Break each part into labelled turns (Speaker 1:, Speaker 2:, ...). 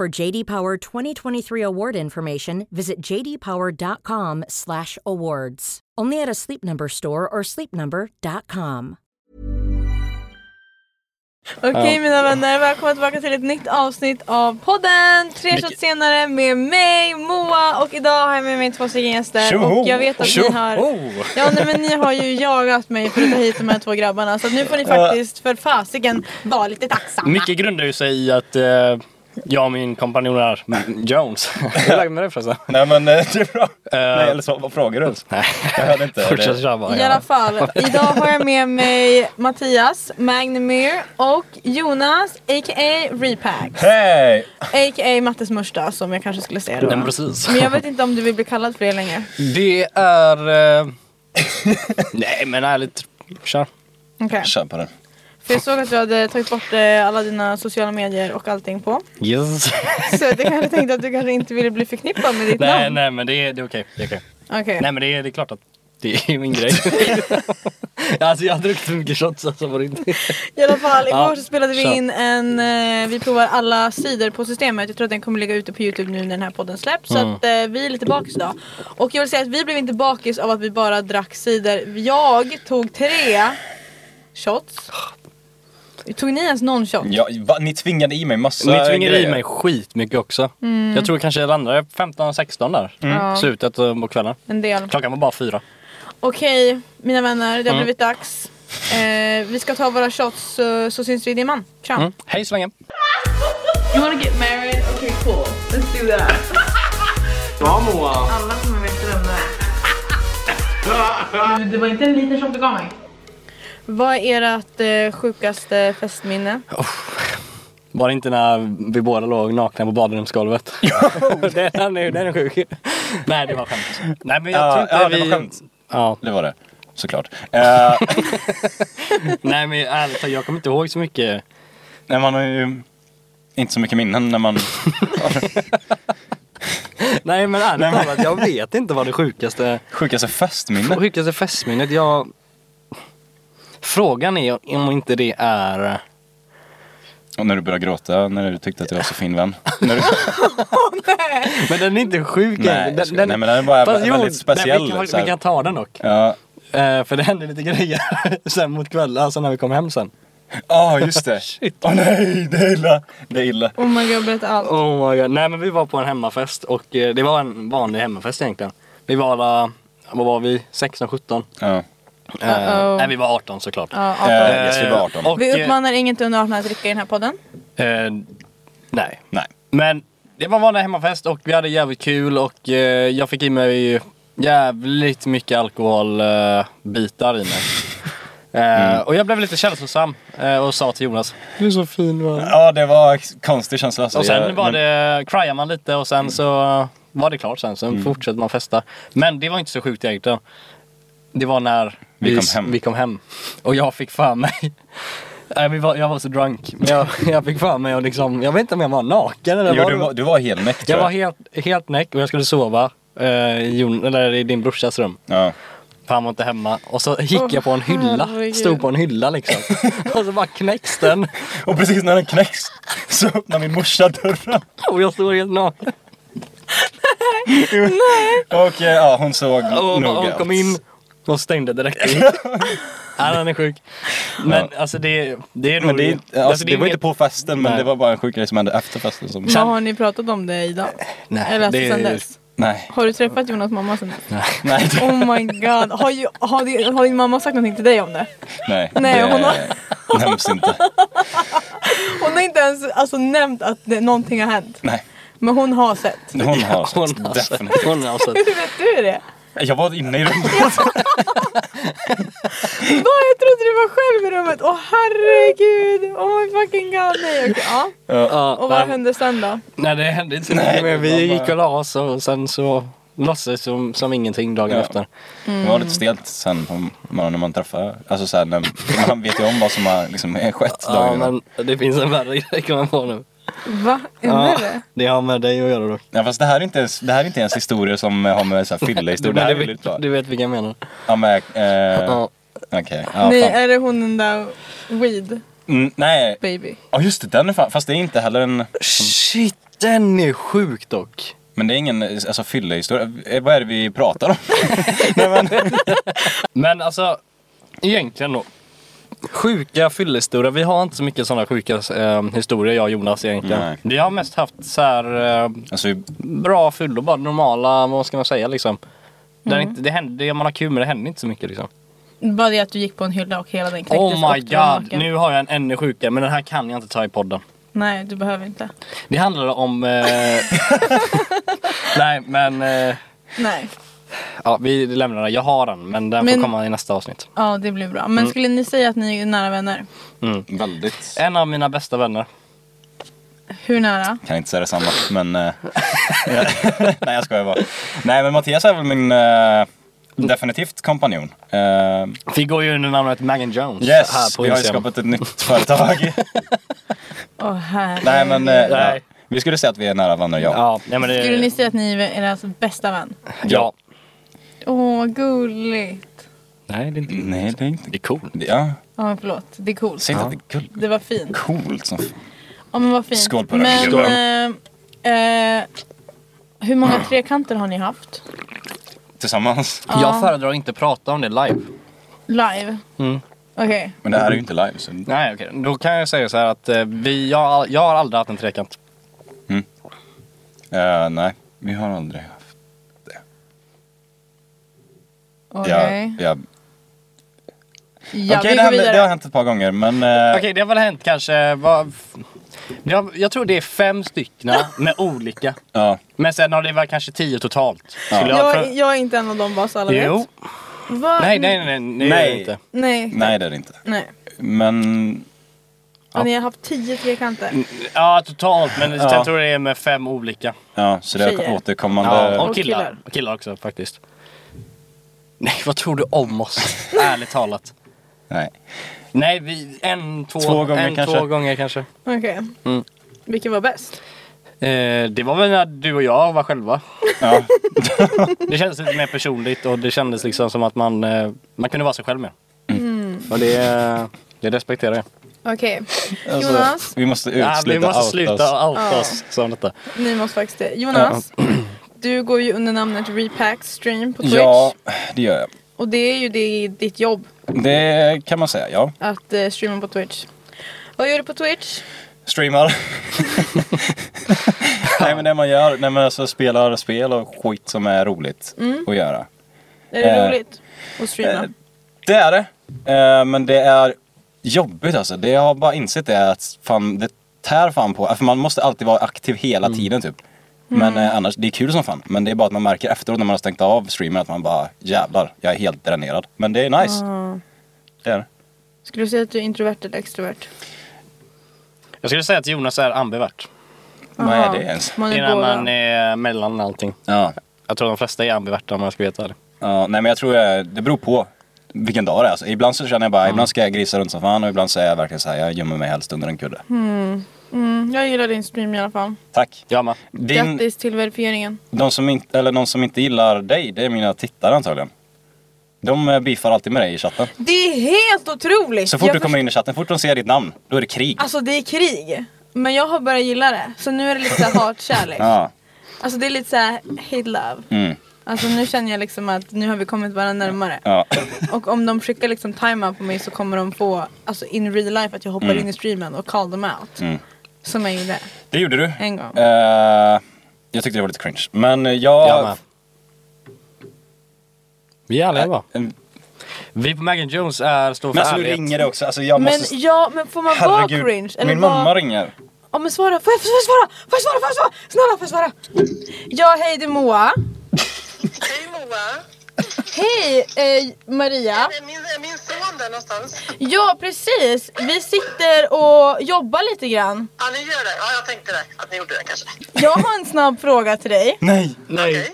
Speaker 1: For JD Power 2023 award information, visit jdpower.com/awards. Only at a Sleep Number store or sleepnumber.com.
Speaker 2: Okej mina vänner, välkomna tillbaka till ett nytt avsnitt av podden. Tre
Speaker 3: Vilket-
Speaker 2: shots senare med mig, Moa och idag har jag med mig två stycken gäster.
Speaker 3: Tjoho!
Speaker 2: Och jag vet att ni
Speaker 3: Tjoho!
Speaker 2: har... Ja nej, men ni har ju jagat mig för att ta hit de här två grabbarna. Så att nu får ni faktiskt för fasiken vara lite tacksamma.
Speaker 3: Mycket grundar ju sig i att eh, jag och min kompanjon här, M- Jones. Hur är läget med dig förresten?
Speaker 4: Nej men eh, det är bra. Nej eller så, vad frågar du ens?
Speaker 3: Nej,
Speaker 4: Jag hörde inte.
Speaker 3: fortsätt
Speaker 4: Det-
Speaker 3: köra bara.
Speaker 2: I alla
Speaker 3: Ja.
Speaker 2: fall, idag har jag med mig Mattias, Magnumir och Jonas, a.k.a. Repack.
Speaker 4: Hej!
Speaker 2: A.k.a. Mattes Mörsta som jag kanske skulle säga
Speaker 3: Nej, men
Speaker 2: då.
Speaker 3: precis.
Speaker 2: Men jag vet inte om du vill bli kallad för det längre.
Speaker 3: Det är... Eh... Nej, men ärligt. Kör.
Speaker 2: Okej.
Speaker 4: Kör på den.
Speaker 2: För jag såg att du hade tagit bort eh, alla dina sociala medier och allting på.
Speaker 3: Yes.
Speaker 2: Så jag kanske tänkte att du kanske inte ville bli förknippad med ditt
Speaker 3: nej,
Speaker 2: namn.
Speaker 3: nej, men det är, det är okej. Det är okej.
Speaker 2: Okej.
Speaker 3: Nej, men det är, det är klart att det är min grej. alltså, jag har druckit så mycket shots alltså, på riktigt.
Speaker 2: I alla fall, igår
Speaker 3: Ja,
Speaker 2: så spelade vi
Speaker 3: kör.
Speaker 2: in en... Eh, vi provar alla sidor på systemet. Jag tror att den kommer ligga ute på Youtube nu när den här podden släpps.
Speaker 3: Mm.
Speaker 2: Så att eh, vi är lite bakis idag. Och jag vill säga att vi blev inte bakis av att vi bara drack cider. Jag tog tre shots. Tog ni ens någon shot?
Speaker 4: Ja, va, ni tvingade i mig massa
Speaker 3: Ni tvingade i
Speaker 4: grejer.
Speaker 3: mig skitmycket också.
Speaker 2: Mm.
Speaker 3: Jag tror kanske jag landade 15-16 där.
Speaker 2: Ja.
Speaker 3: Slutet eh, på kvällen.
Speaker 2: En del.
Speaker 3: Klockan var bara fyra.
Speaker 2: Okej, mina vänner, det har
Speaker 3: Mm.
Speaker 2: blivit dags. Eh, vi ska ta våra shots så, så syns vi i dimman. Kram!
Speaker 3: Mm. Hej så länge.
Speaker 2: You wanna get married? Okay cool, let's do that.
Speaker 3: Bra Moa.
Speaker 2: Alla kommer veta vem det är. Det var inte en liten shot du gav mig. Vad är ert eh, sjukaste festminne?
Speaker 3: Var det inte när vi båda låg nakna på badrumsgolvet? den, är, nu- den är sjuk. Nej det var skämt. Nej men jag
Speaker 4: Ja,
Speaker 3: tror inte
Speaker 4: ja, det
Speaker 3: vi...
Speaker 4: var skämt.
Speaker 3: Ja.
Speaker 4: Det var det. Såklart. Eh,
Speaker 3: Nej men ärligt talat, jag kommer inte ihåg så mycket.
Speaker 4: nej, man har ju inte så mycket minnen när man...
Speaker 3: Nej men
Speaker 4: Nej,
Speaker 3: ärligt
Speaker 4: men-
Speaker 3: talat, jag vet inte vad det sjukaste...
Speaker 4: Sjukaste festminne.
Speaker 3: Sjukaste festminnet jag... Frågan är om inte det är...
Speaker 4: Och när du började gråta, när du tyckte att jag var så fin vän. När du...
Speaker 3: Men den är inte sjuk
Speaker 4: Nej,
Speaker 3: egentligen.
Speaker 4: jag skojar. Nej, men den är bara
Speaker 3: Fast
Speaker 4: väldigt speciell,
Speaker 3: Nej, vi,
Speaker 4: så
Speaker 3: kan,
Speaker 4: här.
Speaker 3: vi kan ta den dock.
Speaker 4: Ja,
Speaker 3: Eh, för det hände lite grejer sen mot kvällen, alltså när vi kom hem sen.
Speaker 4: ah, just det.
Speaker 3: Shit.
Speaker 4: Åh nej, det är illa. Det är illa.
Speaker 2: Oh my god, berätta allt.
Speaker 3: Oh my god. Nej men vi var på en hemmafest och eh, det var en vanlig hemmafest egentligen. Vi var alla, vad var vi, 16, 17?
Speaker 4: Ja.
Speaker 3: Eh,
Speaker 2: Uh-oh.
Speaker 3: nej vi var 18 såklart.
Speaker 2: Ja,
Speaker 4: Eh,
Speaker 2: Adam.
Speaker 4: jag skulle vara 18.
Speaker 3: Och,
Speaker 2: vi
Speaker 3: eh,
Speaker 2: uppmanar inget under 18 att dricka i den här podden.
Speaker 3: eh, nej.
Speaker 4: Nej.
Speaker 3: Men det var en vanlig hemmafest och vi hade jävligt kul och eh, jag fick i mig jävligt mycket alkoholbitar eh, bitar i mig. Eh, Och jag blev lite känslosam eh, och sa till Jonas Du är så fin va?
Speaker 4: Ja, det var en konstig känsla. alltså.
Speaker 3: Och sen
Speaker 4: Jag-
Speaker 3: var
Speaker 4: men-
Speaker 3: det, cryar man lite och sen så var det klart sen. Sen
Speaker 4: Mm.
Speaker 3: fortsätter man festa. Men det var inte så sjukt egentligen. Det var när
Speaker 4: Vi kom hem.
Speaker 3: vi kom hem. Och jag fick för mig. Nej, vi var, jag var så drunk. Men jag, jag fick för mig och liksom, jag vet inte om jag var naken eller
Speaker 4: Jo,
Speaker 3: vad
Speaker 4: du
Speaker 3: det
Speaker 4: var, du var helnäck
Speaker 3: Jag
Speaker 4: tror
Speaker 3: var
Speaker 4: jag.
Speaker 3: helt, helt näck och jag skulle sova eh, i, Jon, eller i din brorsas rum.
Speaker 4: Ja.
Speaker 3: För han var inte hemma. Och så gick
Speaker 2: Åh,
Speaker 3: jag på en hylla.
Speaker 2: herregud.
Speaker 3: Stod på en hylla liksom. och så bara knäcks den.
Speaker 4: Och precis när den knäcks så öppnar min morsa dörren.
Speaker 3: Och jag stod helt naken.
Speaker 4: Och eh, ja, hon såg
Speaker 3: Och
Speaker 4: nog
Speaker 3: hon
Speaker 4: allt.
Speaker 3: kom in och stängde direkt in. Nej, han är sjuk. Men alltså det, det är nog...
Speaker 4: Men det, är- alltså,
Speaker 3: alltså,
Speaker 4: det, var
Speaker 3: inget-
Speaker 4: inte på festen men
Speaker 3: Nej.
Speaker 4: det var bara en sjuk grej som hände efter festen som...
Speaker 2: Vad har ni pratat om det idag?
Speaker 3: Eh, Nej,
Speaker 2: Eller alltså
Speaker 3: det
Speaker 2: sen
Speaker 3: är-
Speaker 2: dess?
Speaker 4: Nej.
Speaker 2: Har du träffat Jonas mamma sen dess?
Speaker 4: Nej. det-
Speaker 2: Oh my god, har, ju, har, din, har din mamma sagt någonting till dig om det?
Speaker 4: Nej.
Speaker 2: Nej,
Speaker 4: det
Speaker 2: hon
Speaker 4: nämns inte.
Speaker 2: Hon har inte ens alltså, nämnt att det, någonting har hänt.
Speaker 4: Nej.
Speaker 2: Men hon har sett.
Speaker 4: Hon har
Speaker 3: Hon har
Speaker 4: alltså.
Speaker 3: alltså.
Speaker 4: definitivt.
Speaker 3: sett. Hon har sett.
Speaker 2: Hur vet du det?
Speaker 4: Jag var inne i rummet.
Speaker 2: Va, jag trodde du var själv i rummet. Åh herregud. Oh my fucking god. Nej, okej, ja.
Speaker 3: Ja,
Speaker 2: Och vad
Speaker 3: nej,
Speaker 2: hände sen då?
Speaker 3: nej det hände inte så mycket mer. Vi gick och la oss och sen så låtsades som, som ingenting dagen
Speaker 4: Ja.
Speaker 3: efter.
Speaker 4: Mm. Det var lite stelt sen på morgonen när man träffar. Alltså så här, när man vet ju om vad som har liksom, är skett
Speaker 3: Ja,
Speaker 4: dagen.
Speaker 3: men det finns en värre grej kan man få nu.
Speaker 2: Va? Är
Speaker 3: Ja,
Speaker 2: det?
Speaker 3: det har med dig att göra dock.
Speaker 4: Ja, fast det här, är inte, ens- det här är inte ens historier som har med så här
Speaker 3: Du, men
Speaker 4: fyllehistorier det
Speaker 3: du,
Speaker 4: här är väldigt
Speaker 3: vet,
Speaker 4: bra.
Speaker 3: du vet vilka jag menar.
Speaker 4: Ja, men, eh,
Speaker 3: Ja.
Speaker 4: Okej. Ja,
Speaker 2: Nej, eh,
Speaker 4: fan.
Speaker 2: är det hon den där weed
Speaker 4: Mm, nej.
Speaker 2: baby?
Speaker 4: Ja just det, den är fan, fast det är inte heller en...
Speaker 3: Shit, den är sjuk dock.
Speaker 4: Men det är ingen alltså, fyllehistoria. Eh, Vad är det vi pratar om?
Speaker 3: Men alltså, egentligen då. Sjuka fyllehistorier. Vi har inte så mycket sådana sjuka eh, historier jag och Jonas egentligen.
Speaker 4: Nej.
Speaker 3: Vi har mest haft så här eh,
Speaker 4: Alltså, vi-
Speaker 3: bra fyllor, bara normala, vad ska man säga liksom. Där inte, det händer, det, man har kul men det händer inte så mycket liksom.
Speaker 2: Bara det att du gick på en hylla och hela den knäcktes
Speaker 3: Oh my
Speaker 2: och du var
Speaker 3: god,
Speaker 2: naken.
Speaker 3: nu har jag en ännu sjukare men den här kan jag inte ta i podden.
Speaker 2: Nej, du behöver inte.
Speaker 3: Det handlar om... Eh... Nej men, eh...
Speaker 2: Nej,
Speaker 3: ja, vi lämnar den. Jag har den men den
Speaker 2: Men-
Speaker 3: får komma i nästa avsnitt.
Speaker 2: ja det blir bra. Men
Speaker 3: Mm.
Speaker 2: skulle ni säga att ni är nära vänner?
Speaker 4: väldigt...
Speaker 3: En av mina bästa vänner.
Speaker 2: Hur nära?
Speaker 4: Kan inte säga detsamma, men... Eh, nej jag skojar bara. Nej men Mattias är väl min eh, definitivt kompanjon. Eh,
Speaker 3: Vi går ju under namnet Megan Jones här
Speaker 4: yes,
Speaker 3: på
Speaker 4: vi har ju
Speaker 3: Instagram.
Speaker 4: skapat ett nytt företag.
Speaker 2: Åh herregud.
Speaker 4: nej men... Eh,
Speaker 3: Nej.
Speaker 4: Ja. Vi skulle säga att vi är nära vänner, ja.
Speaker 3: Ja, nej, men det,
Speaker 2: Skulle ni säga att ni är deras bästa vän?
Speaker 3: ja.
Speaker 2: Åh, gulligt.
Speaker 3: Nej, det är inte
Speaker 4: Nej det är inte...
Speaker 3: Det är cool.
Speaker 4: Ja,
Speaker 2: Ja, förlåt. Det är coolt.
Speaker 4: säg inte att det är kul.
Speaker 2: Det var fint.
Speaker 4: coolt som f-
Speaker 2: Ja, men vad fint.
Speaker 4: Skål på det.
Speaker 2: Men,
Speaker 4: Skål.
Speaker 2: eh, eh, hur
Speaker 4: Mm.
Speaker 2: många trekanter har ni haft?
Speaker 4: Tillsammans.
Speaker 3: Jag föredrar inte prata om det live.
Speaker 2: Live?
Speaker 3: Mm.
Speaker 2: Okej.
Speaker 4: Men det här är ju inte live så...
Speaker 3: Nej, okej. Då kan jag säga så här att eh, vi, jag, jag har aldrig haft en trekant.
Speaker 4: Eh, nej, vi har aldrig haft...
Speaker 2: Okej.
Speaker 4: Ja, ja.
Speaker 2: Ja,
Speaker 4: Okej,
Speaker 2: vi går
Speaker 4: det, händer- det har
Speaker 2: vidare.
Speaker 4: hänt ett par gånger men... eh,
Speaker 3: Okej, det har väl hänt kanske... Vad, jag, jag tror det är fem stycken med olika.
Speaker 4: Ja.
Speaker 3: Men sen har det varit kanske tio totalt. Skulle jag
Speaker 2: Jag,
Speaker 3: tro-
Speaker 2: jag är inte en av dem bara så alla
Speaker 3: Jo.
Speaker 2: vet. Va?
Speaker 3: Nej, nej, nej. Nej.
Speaker 4: Nej.
Speaker 3: det är Inte.
Speaker 2: Nej.
Speaker 4: Nej det är det inte.
Speaker 2: Nej.
Speaker 4: Men
Speaker 2: Och Ni har haft tio trekanter.
Speaker 4: Mm.
Speaker 3: Ja, totalt. Men
Speaker 4: Ja.
Speaker 3: sen tror jag det är med fem olika.
Speaker 4: ja, så det
Speaker 2: Tjejer.
Speaker 4: är återkommande.
Speaker 3: Ja, och,
Speaker 2: Och
Speaker 3: killar.
Speaker 2: killar.
Speaker 3: Och killar också faktiskt. Nej, vad tror du om oss? Ärligt talat.
Speaker 4: Nej.
Speaker 3: Nej, vi, en, två,
Speaker 4: Två gånger
Speaker 3: en,
Speaker 4: kanske.
Speaker 3: Två gånger kanske.
Speaker 2: Okej.
Speaker 3: Mm.
Speaker 2: Vilken var bäst?
Speaker 3: Eh, det var väl när du och jag var själva.
Speaker 4: Ja.
Speaker 3: Det kändes lite mer personligt och det kändes liksom som att man, eh, man kunde vara sig själv mer. Och det, eh, det respekterar jag.
Speaker 2: Okej. Jonas,
Speaker 4: Alltså, Vi måste ut,
Speaker 3: Ja, vi
Speaker 4: sluta
Speaker 3: måste
Speaker 4: outa
Speaker 3: sluta
Speaker 4: oss.
Speaker 3: outa
Speaker 2: Ja.
Speaker 3: oss som detta.
Speaker 2: ni måste faktiskt det. Jonas, du går ju under namnet Repack Stream på Twitch.
Speaker 4: Ja, det gör jag.
Speaker 2: Och det är ju det, ditt jobb
Speaker 4: Det kan man säga, ja.
Speaker 2: att eh, streama på Twitch. Vad gör du på Twitch?
Speaker 4: Streamar. nej men det man gör, nej men alltså spelar spel och skit som är roligt
Speaker 2: Mm.
Speaker 4: att göra.
Speaker 2: Är det
Speaker 4: Eh,
Speaker 2: roligt att streama?
Speaker 4: eh, Det är det. Eh, men det är jobbigt alltså. Det jag har bara insett det är att fan, det tär fan på. För man måste alltid vara aktiv hela tiden typ. Men eh, annars, det är kul som fan. Men det är bara att man märker efteråt när man har stängt av streamen att man bara jävlar, jag är helt dränerad. Men det är nice. Det är det.
Speaker 2: Skulle du säga att du är introvert eller extrovert?
Speaker 3: Jag skulle säga att Jonas är ambivert.
Speaker 4: Vad är det ens?
Speaker 2: Man
Speaker 3: Det
Speaker 2: är
Speaker 3: är när
Speaker 2: båda.
Speaker 3: man är eh, mellan allting.
Speaker 4: Ja.
Speaker 3: Jag tror de flesta är ambiverta om jag ska veta det.
Speaker 4: ja. Nej men jag tror jag, det beror på vilken dag det är. Alltså, ibland så känner jag bara, ibland ska jag grisa runt som fan och ibland så är jag verkligen så här, jag gömmer mig helst under en kudde.
Speaker 2: Mm, jag gillar din stream i alla fall.
Speaker 4: Tack.
Speaker 3: Jag med.
Speaker 4: Din,
Speaker 2: Grattis till verifieringen.
Speaker 4: De som, inte, eller de som inte gillar dig, det är mina tittare antagligen. De eh, beefar alltid med dig i chatten.
Speaker 2: Det är helt otroligt!
Speaker 4: Så fort
Speaker 2: Jag
Speaker 4: du kommer in i chatten, fort de ser ditt namn, då är det krig.
Speaker 2: Alltså det är krig. Men jag har börjat gilla det. Så nu är det lite såhär hatkärlek.
Speaker 4: Ja.
Speaker 2: Alltså det är lite såhär hate love.
Speaker 4: Mm.
Speaker 2: Alltså nu känner jag liksom att nu har vi kommit varandra närmare.
Speaker 4: Ja.
Speaker 2: Och om de skickar liksom timeout på mig så kommer de få, alltså in real life att jag hoppar in i streamen och call them out.
Speaker 4: Mm.
Speaker 2: Som jag gjorde
Speaker 4: Det gjorde du.
Speaker 2: en gång.
Speaker 4: Eh, jag tyckte det var lite cringe. Men eh, jag...
Speaker 3: Jag med. Vi är ärliga bara.
Speaker 4: men
Speaker 3: Eh, Vi på Megan Jones är står för
Speaker 4: alltså nu
Speaker 3: ärlighet.
Speaker 4: ringer det också. Alltså jag
Speaker 2: Men
Speaker 4: måste...
Speaker 2: ja, men får man vara cringe? Eller
Speaker 4: min
Speaker 2: vara-
Speaker 4: mamma ringer.
Speaker 2: Ja men svara, får jag, får jag svara? Får jag svara? Får jag svara? Snälla får jag svara? Ja hej det är Moa.
Speaker 5: Hej Moa!
Speaker 2: Hej eh, Maria!
Speaker 5: Är min, är min son där någonstans?
Speaker 2: Ja precis, vi sitter och jobbar lite grann.
Speaker 5: Ja, ni gör det. Ja, jag tänkte det. Att ni gjorde det kanske.
Speaker 2: Jag har en snabb fråga till dig.
Speaker 4: Nej!
Speaker 3: Nej.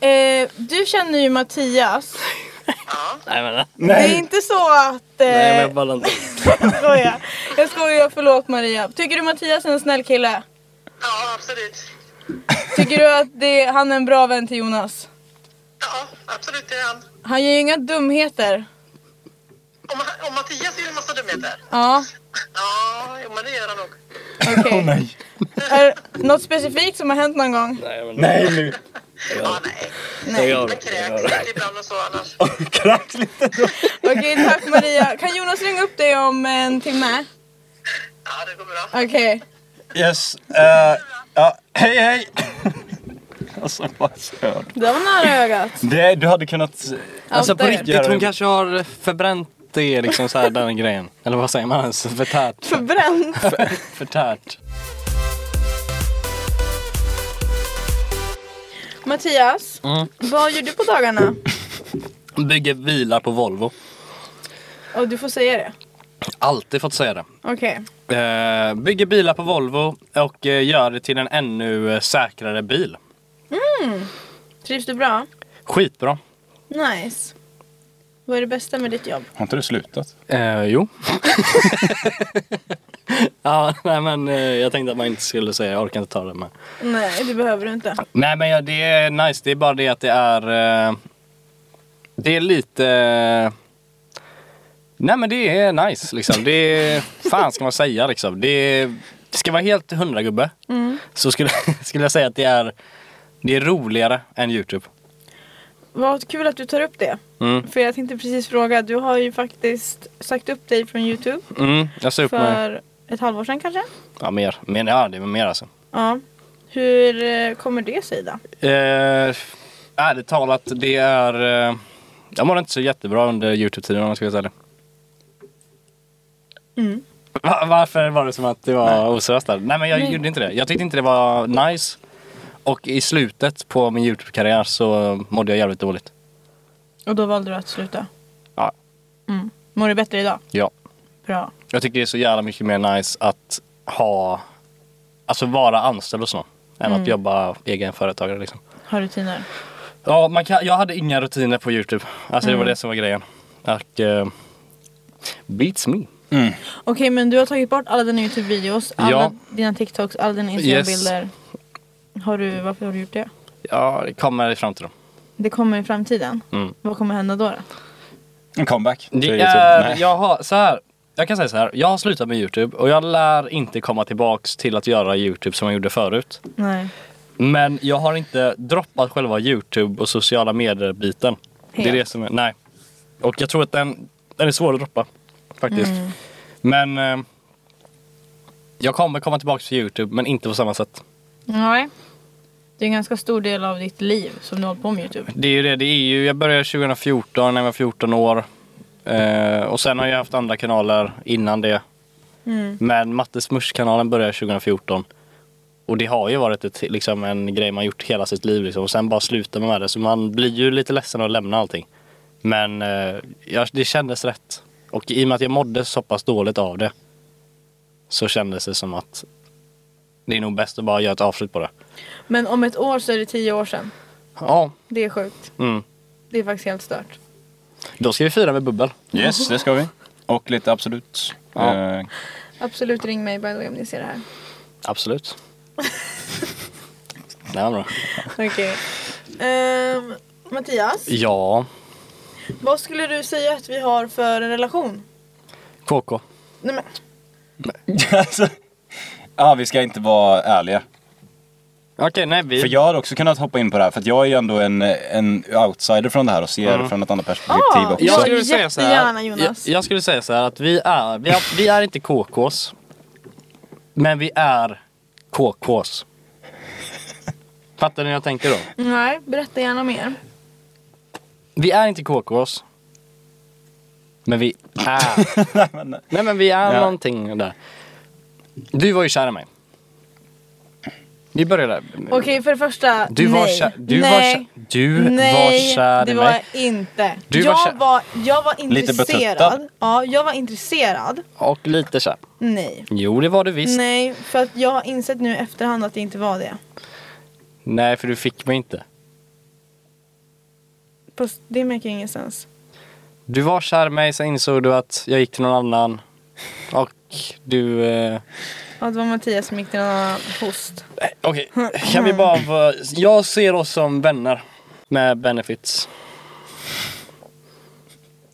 Speaker 5: Okej.
Speaker 2: Eh, du känner ju Mattias.
Speaker 5: Ja.
Speaker 3: Nej men.
Speaker 2: Det är inte så att... Eh,
Speaker 3: Nej men jag ballar inte.
Speaker 2: jag skojar. Jag skojar, förlåt Maria. Tycker du Mattias är en snäll kille?
Speaker 5: ja, absolut.
Speaker 2: Tycker du att det, han är en bra vän till Jonas?
Speaker 5: Ja, absolut det är han.
Speaker 2: Han gör ju inga dumheter.
Speaker 5: Om, om Mattias gör en massa dumheter.
Speaker 2: Ja,
Speaker 5: Ja, jo, men det gör han nog.
Speaker 2: okej.
Speaker 4: nej!
Speaker 2: Är det något specifikt som har hänt någon gång?
Speaker 3: Nej men.
Speaker 4: Nej nu!
Speaker 5: Ja, nej.
Speaker 3: Jag gör
Speaker 5: Han
Speaker 3: det. Jag gör
Speaker 5: kräks
Speaker 3: det.
Speaker 5: lite ibland och så annars.
Speaker 4: Krax lite då!
Speaker 2: Okej, tack Maria. Kan Jonas ringa upp dig om en timme?
Speaker 5: Ja, det går bra.
Speaker 2: Okej.
Speaker 4: Yes. eh, ja, hej hej! alltså vad stört.
Speaker 2: Det var nära ögat.
Speaker 4: Det, du hade kunnat...
Speaker 3: Alltså på
Speaker 2: Outa er.
Speaker 3: riktigt, hon kanske har förbränt det liksom så här, den grejen. Eller vad säger man ens? Förtärt.
Speaker 2: Förbränd.
Speaker 3: Förtärt.
Speaker 2: Mattias,
Speaker 3: Mm.
Speaker 2: vad gör du på dagarna?
Speaker 3: Bygger bilar på Volvo.
Speaker 2: Och du får säga det.
Speaker 3: Alltid fått säga det.
Speaker 2: Okej.
Speaker 3: Eh, bygger bilar på Volvo och eh, gör det till en ännu eh, säkrare bil.
Speaker 2: Trivs du bra?
Speaker 3: Skitbra.
Speaker 2: Nice. Vad är det bästa med ditt jobb?
Speaker 4: Har inte du slutat?
Speaker 3: Eh, jo. ja, nej men eh, jag tänkte att man inte skulle säga, jag orkar inte ta det men.
Speaker 2: Nej, det behöver du inte.
Speaker 3: Nej men ja, det är nice, det är bara det att det är eh, Det är lite eh, Nej men det är nice liksom, det är Fan ska man säga liksom, det, är, det ska vara helt hundragubbe Så skulle, skulle jag säga att det är Det är roligare än Youtube
Speaker 2: Vad kul att du tar upp det.
Speaker 3: Mm,
Speaker 2: För jag tänkte precis fråga, du har ju faktiskt sagt upp dig från Youtube
Speaker 3: mm jag ser upp mig
Speaker 2: för ett halvår sedan kanske?
Speaker 3: Ja mer, men ja det var mer alltså
Speaker 2: Ja. Hur eh, kommer det sig då?
Speaker 3: Eh, ärligt talat, det är... Eh, jag mår inte så jättebra under Youtube-tiden om jag ska vara ärlig.
Speaker 2: Mm.
Speaker 3: Va, varför var det som att det var oseriöst där? Nej men jag
Speaker 2: Nej.
Speaker 3: gjorde inte det. Jag tyckte inte det var nice. Och i slutet på min Youtube-karriär så mådde jag jävligt dåligt.
Speaker 2: Och då valde du att sluta?
Speaker 3: Ja.
Speaker 2: Mm. Mår du bättre idag?
Speaker 3: Ja.
Speaker 2: Bra.
Speaker 3: Jag tycker det är så jävla mycket mer nice att ha... Alltså vara anställd hos någon. Än att jobba egen företagare liksom.
Speaker 2: Har rutiner.
Speaker 3: Ja, man kan, jag hade inga rutiner på Youtube. Alltså det var det som var grejen. Och... Eh, beats me.
Speaker 2: Okej men du har tagit bort alla dina Youtube-videos, alla
Speaker 3: Ja.
Speaker 2: dina TikToks, alla dina Instagram-bilder. Har du, varför har du gjort det?
Speaker 3: Ja, det kommer fram till dem.
Speaker 2: Det kommer i framtiden.
Speaker 3: Mm.
Speaker 2: Vad kommer hända då? då?
Speaker 4: En comeback?
Speaker 3: Det
Speaker 4: För YouTube?
Speaker 3: är,
Speaker 4: Nej.
Speaker 3: jag, har, så här, jag kan säga så här, jag har slutat med Youtube och jag lär inte komma tillbaks till att göra Youtube som jag gjorde förut.
Speaker 2: Nej.
Speaker 3: Men jag har inte droppat själva Youtube och sociala medier-biten. Det är
Speaker 2: Helt.
Speaker 3: det som är, nej. Och jag tror att den, den är svår att droppa. Faktiskt. Men eh, jag kommer komma tillbaks till Youtube men inte på samma sätt.
Speaker 2: Nej. Det är en ganska stor del av ditt liv som du har hållit på med Youtube.
Speaker 3: Det är ju det, det är ju, jag började 2014 när jag var 14 år. Eh, och sen har jag haft andra kanaler innan det. Men Matte Smush-kanalen började 2014. Och det har ju varit ett, liksom, en grej man gjort hela sitt liv liksom. och sen bara slutar man med det. Så man blir ju lite ledsen att lämna allting. Men eh, jag, det kändes rätt. Och i och med att jag mådde så pass dåligt av det så kändes det som att det är nog bäst att bara göra ett avslut på det.
Speaker 2: Men om ett år så är det tio år sedan.
Speaker 3: Ja.
Speaker 2: Det är sjukt.
Speaker 3: Mm.
Speaker 2: Det är faktiskt helt stört.
Speaker 3: Då ska vi fira med bubbel.
Speaker 4: Yes, det ska vi. Och lite Absolut.
Speaker 3: Ja.
Speaker 4: Eh,
Speaker 2: Absolut ring mig by the way om ni ser det här.
Speaker 3: Absolut. Det var bra.
Speaker 2: Okej. Ehm, Mattias,
Speaker 3: Ja,
Speaker 2: vad skulle du säga att vi har för en relation?
Speaker 3: KK.
Speaker 2: Nej, men,
Speaker 4: alltså, ja, vi ska inte vara ärliga.
Speaker 3: Okej, nej vi...
Speaker 4: För jag har också kunnat hoppa in på det här för att jag är ju ändå en, en outsider från det här och ser från ett annat perspektiv
Speaker 2: Ah,
Speaker 4: också.
Speaker 2: ja.
Speaker 4: Ja.
Speaker 3: skulle säga så här,
Speaker 2: jättegärna,
Speaker 3: jag,
Speaker 2: Jonas.
Speaker 3: jag skulle säga så här att vi är, vi är, vi är inte KKs. Men vi är KKs. Fattar ni hur jag tänker då?
Speaker 2: nej, berätta gärna mer.
Speaker 3: Vi är inte KKs. Men vi är. nej men vi är
Speaker 4: Ja.
Speaker 3: någonting där. Du var ju kär i mig. Vi börjar där.
Speaker 2: Okej för det första,
Speaker 3: Du
Speaker 2: nej.
Speaker 3: var kär, du
Speaker 2: nej.
Speaker 3: var kär, du var
Speaker 2: Nej,
Speaker 3: kär i
Speaker 2: det
Speaker 3: mig.
Speaker 2: var jag inte.
Speaker 3: Du var
Speaker 2: jag,
Speaker 3: kär-
Speaker 2: var, jag var
Speaker 4: Lite betuttad.
Speaker 2: intresserad. Ja, jag var intresserad.
Speaker 3: Och lite kär.
Speaker 2: Nej.
Speaker 3: Jo det var du visst. Nej,
Speaker 2: Nej, för att jag har insett nu i efterhand att jag inte var det.
Speaker 3: för du fick mig inte.
Speaker 2: Fast det märker ingen sens.
Speaker 3: Du var kär i mig, sen insåg du att jag gick till någon annan. Och du... Eh...
Speaker 2: Ja, det var Mattias som gick till en annan host.
Speaker 3: nej, Okej, kan vi bara vara... Jag ser oss som vänner. Med benefits.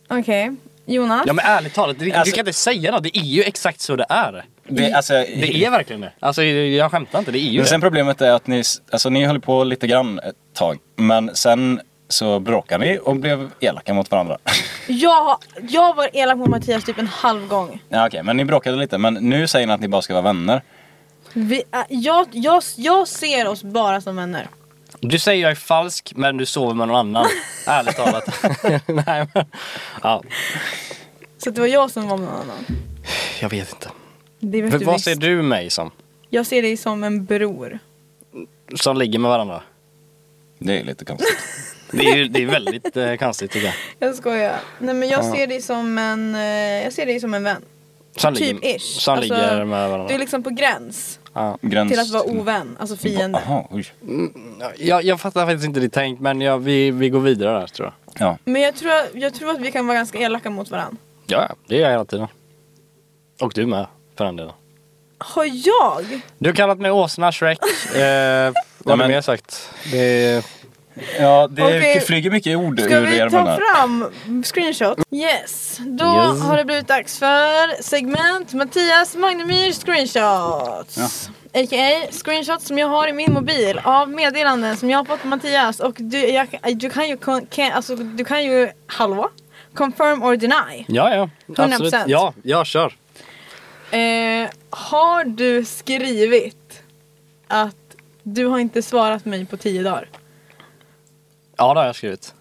Speaker 2: Okej, Jonas.
Speaker 3: Ja men ärligt talat, det, du
Speaker 4: Alltså-
Speaker 3: kan inte säga något. Det är ju exakt så det är.
Speaker 4: Det, alltså,
Speaker 3: Det är verkligen det. Alltså jag skämtar inte, det är ju
Speaker 4: Men sen
Speaker 3: det.
Speaker 4: problemet är att ni, alltså, ni höll på lite grann ett tag. Men sen så bråkade ni och blev elaka mot varandra.
Speaker 2: Jag, har- jag var elak mot Mattias typ en halv gång.
Speaker 4: ja, Okej, men ni bråkade lite. Men nu säger ni att ni bara ska vara vänner.
Speaker 2: Vi, äh, jag, jag, jag ser oss bara som vänner.
Speaker 3: Du säger jag är falsk, men du sover med någon annan. ärligt talat. nej men... Ja,
Speaker 2: Så det var jag som var med någon annan.
Speaker 3: jag vet inte.
Speaker 2: Det vet
Speaker 3: Men
Speaker 2: du
Speaker 3: vad
Speaker 2: visst.
Speaker 3: ser du mig som?
Speaker 2: Jag ser dig som en bror.
Speaker 3: Som ligger med varandra?
Speaker 4: Det är lite konstigt.
Speaker 3: Det är, ju- det är väldigt eh, konstigt tycker jag.
Speaker 2: Jag skojar. Nej men jag ser dig som en, eh, jag ser dig som en vän.
Speaker 3: Som
Speaker 2: Typ
Speaker 3: ligger,
Speaker 2: ish.
Speaker 3: som
Speaker 2: Alltså,
Speaker 3: ligger med varandra. Mm.
Speaker 2: Du är liksom på gräns
Speaker 3: Ja.
Speaker 4: Gräns...
Speaker 2: till att vara ovän, alltså fiende.
Speaker 4: Jaha, oj.
Speaker 3: Jag, jag fattar faktiskt inte ditt tänk men jag, vi, vi går vidare där tror jag.
Speaker 4: Ja.
Speaker 2: Men jag tror, jag tror att vi kan vara ganska elaka mot varandra.
Speaker 3: Ja, ja, det gör jag hela tiden. Och du med för den delen.
Speaker 2: Har jag?
Speaker 3: Du har kallat mig åsna, Shrek. Eh, vad har du
Speaker 4: men-
Speaker 3: mer sagt? Det,
Speaker 4: ja, det
Speaker 2: Okej.
Speaker 4: flyger mycket ord
Speaker 2: Ska
Speaker 4: ur
Speaker 2: vi
Speaker 4: er
Speaker 2: ta
Speaker 4: munnar.
Speaker 2: fram screenshot? Yes, då
Speaker 3: Yes.
Speaker 2: har det blivit dags för segment Mattias Magnemyr screenshots. A.k.a. screenshots som jag har i min mobil av meddelanden som jag har fått av Mattias och du, jag, du kan ju, kon- kan, alltså, du kan ju, hallå? Confirm or deny.
Speaker 3: ja, ja.
Speaker 2: 100%.
Speaker 3: Absolut. Ja, jag kör.
Speaker 2: Eh, har du skrivit att du har inte svarat mig på tio dagar?
Speaker 3: Ja, det har jag skrivit.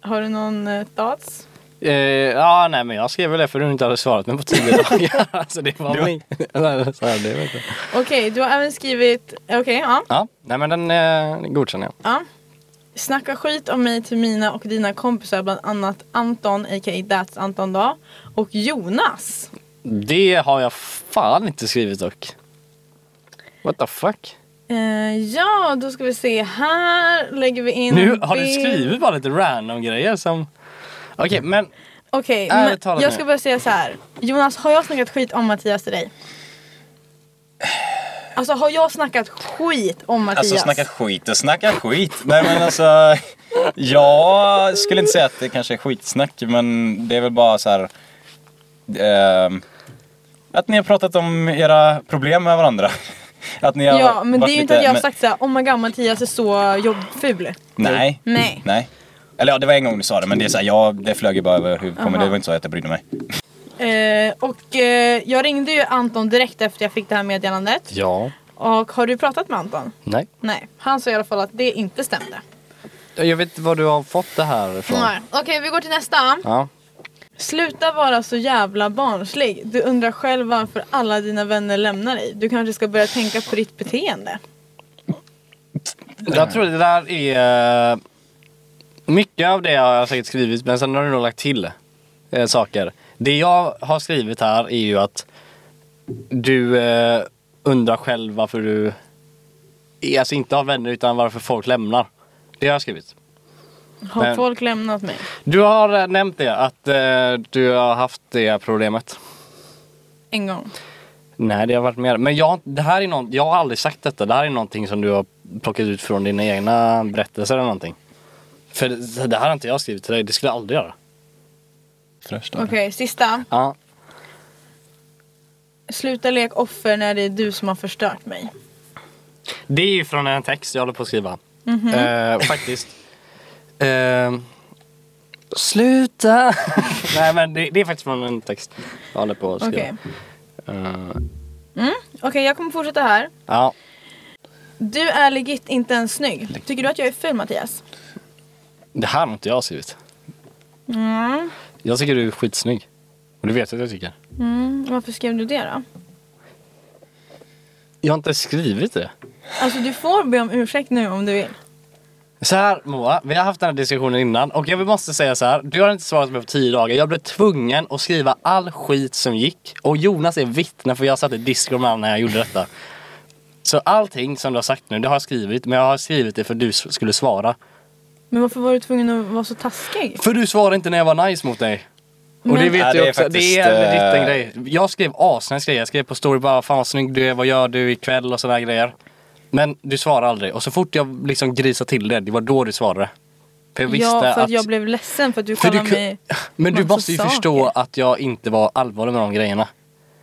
Speaker 2: Har du någon eh, thoughts?
Speaker 3: Eh, ja, nej men jag skrev väl det för du inte hade svarat mig på tio dagar. alltså det var väl inte... Nej, så här, det vet jag.
Speaker 2: Okej, du har även skrivit, okej, ja.
Speaker 3: Ja, nej men den eh, godkänner jag.
Speaker 2: Ja. Snacka skit om mig till mina och dina kompisar, bland annat Anton, a.k.a. That's Anton då, och Jonas.
Speaker 3: Det har jag fan inte skrivit dock. What the fuck?
Speaker 2: Eh, ja, då ska vi se. Här lägger vi in...
Speaker 3: Nu
Speaker 2: en
Speaker 3: har du
Speaker 2: bild.
Speaker 3: skrivit bara lite random grejer som... Okej, men
Speaker 2: Okej,
Speaker 3: Ärligt
Speaker 2: men
Speaker 3: talat
Speaker 2: jag
Speaker 3: nu.
Speaker 2: ska bara säga så här. Jonas, har jag snackat skit om Mattias till dig? Alltså har jag snackat skit om Mattias?
Speaker 4: Alltså snacka skit och snacka skit. Nej men alltså. Jag skulle inte säga att det kanske är skitsnack men det är väl bara så här. ehm, att ni har pratat om era problem med varandra. Att ni har
Speaker 2: ja, men det
Speaker 4: varit
Speaker 2: är ju inte
Speaker 4: lite-
Speaker 2: att jag har
Speaker 4: men-
Speaker 2: sagt så här, oh my god Mattias är så jobbful.
Speaker 4: Nej.
Speaker 2: Nej.
Speaker 4: Nej. Eller ja, det var en gång du sa det men det är så här, ja det flög ju bara över huvudet på mig.
Speaker 2: Aha.
Speaker 4: Det var inte så att jag brydde mig.
Speaker 2: Eh, och eh, jag ringde ju Anton direkt efter jag fick det här meddelandet.
Speaker 3: Ja.
Speaker 2: Och har du pratat med Anton?
Speaker 3: Nej.
Speaker 2: Nej, han sa i alla fall att det inte stämde.
Speaker 3: Jag vet inte var du har fått det här ifrån.
Speaker 2: Nej. Okej, vi går till nästa.
Speaker 3: Ja.
Speaker 2: Sluta vara så jävla barnslig. Du undrar själv varför alla dina vänner lämnar dig. Du kanske ska börja tänka på ditt beteende.
Speaker 3: Jag tror det där är... eh, Mycket av det har jag säkert skrivit men sen har du nog lagt till eh, saker. Det jag har skrivit här är ju att du eh, undrar själv varför du är- alltså inte har vänner utan varför folk lämnar. Det har jag skrivit.
Speaker 2: Har
Speaker 3: Men-
Speaker 2: folk lämnat mig?
Speaker 3: Du har eh, nämnt det, att eh, du har haft det problemet.
Speaker 2: En gång.
Speaker 3: Nej, det har varit mer. Men jag, det här är någon, jag har aldrig sagt detta. Det här är någonting som du har plockat ut från dina egna berättelser eller någonting. För det, det här har inte jag skrivit till dig. Det skulle jag aldrig göra.
Speaker 4: Fräscht.
Speaker 2: Okej, sista.
Speaker 3: Ja.
Speaker 2: Sluta leka offer när det är du som har förstört mig.
Speaker 3: Det är ju från en text jag håller på att skriva. Eh, faktiskt. Eh, sluta! Nej, men det, det är faktiskt från en text jag håller på att skriva.
Speaker 2: Okej, Mm.
Speaker 3: Eh,
Speaker 2: Okej, jag kommer fortsätta här.
Speaker 3: ja.
Speaker 2: Du är legit inte ens snygg. Tycker du att jag är ful Mattias?
Speaker 3: Det här har inte jag skrivit.
Speaker 2: Mm.
Speaker 3: Jag tycker du är skitsnygg.
Speaker 2: Mm,
Speaker 3: Och du vet att jag tycker.
Speaker 2: Varför skrev du det då?
Speaker 3: Jag har inte skrivit det.
Speaker 2: Alltså du får be om ursäkt nu om du vill.
Speaker 3: Så här Moa, vi har haft den här diskussionen innan och jag måste säga så här. Du har inte svarat mig på tio dagar. Jag blev tvungen att skriva all skit som gick. Och Jonas är vittne för jag satt i Discord med honom när jag gjorde detta. Så allting som du har sagt nu, det har jag skrivit. Men jag har skrivit det för du s- skulle svara.
Speaker 2: Men varför var du tvungen att vara så taskig?
Speaker 3: För du svarade inte när jag var nice mot dig. Och det
Speaker 2: Men-
Speaker 3: vet
Speaker 4: Nej,
Speaker 3: jag
Speaker 4: det är
Speaker 3: också, det är
Speaker 4: faktiskt,
Speaker 3: väldigt en
Speaker 4: eh,
Speaker 3: grej. Jag skrev asnice grejer, jag skrev på story bara fan vad snygg du är, vad gör du ikväll och sådana grejer. Men du svarade aldrig och så fort jag liksom grisade till det, det var då du svarade. För jag visste
Speaker 2: ja, för att,
Speaker 3: att
Speaker 2: jag blev ledsen för att du
Speaker 3: För du
Speaker 2: kallade
Speaker 3: ku-
Speaker 2: mig...
Speaker 3: Men du
Speaker 2: massa
Speaker 3: måste ju
Speaker 2: saker.
Speaker 3: förstå att jag inte var allvarlig med de grejerna.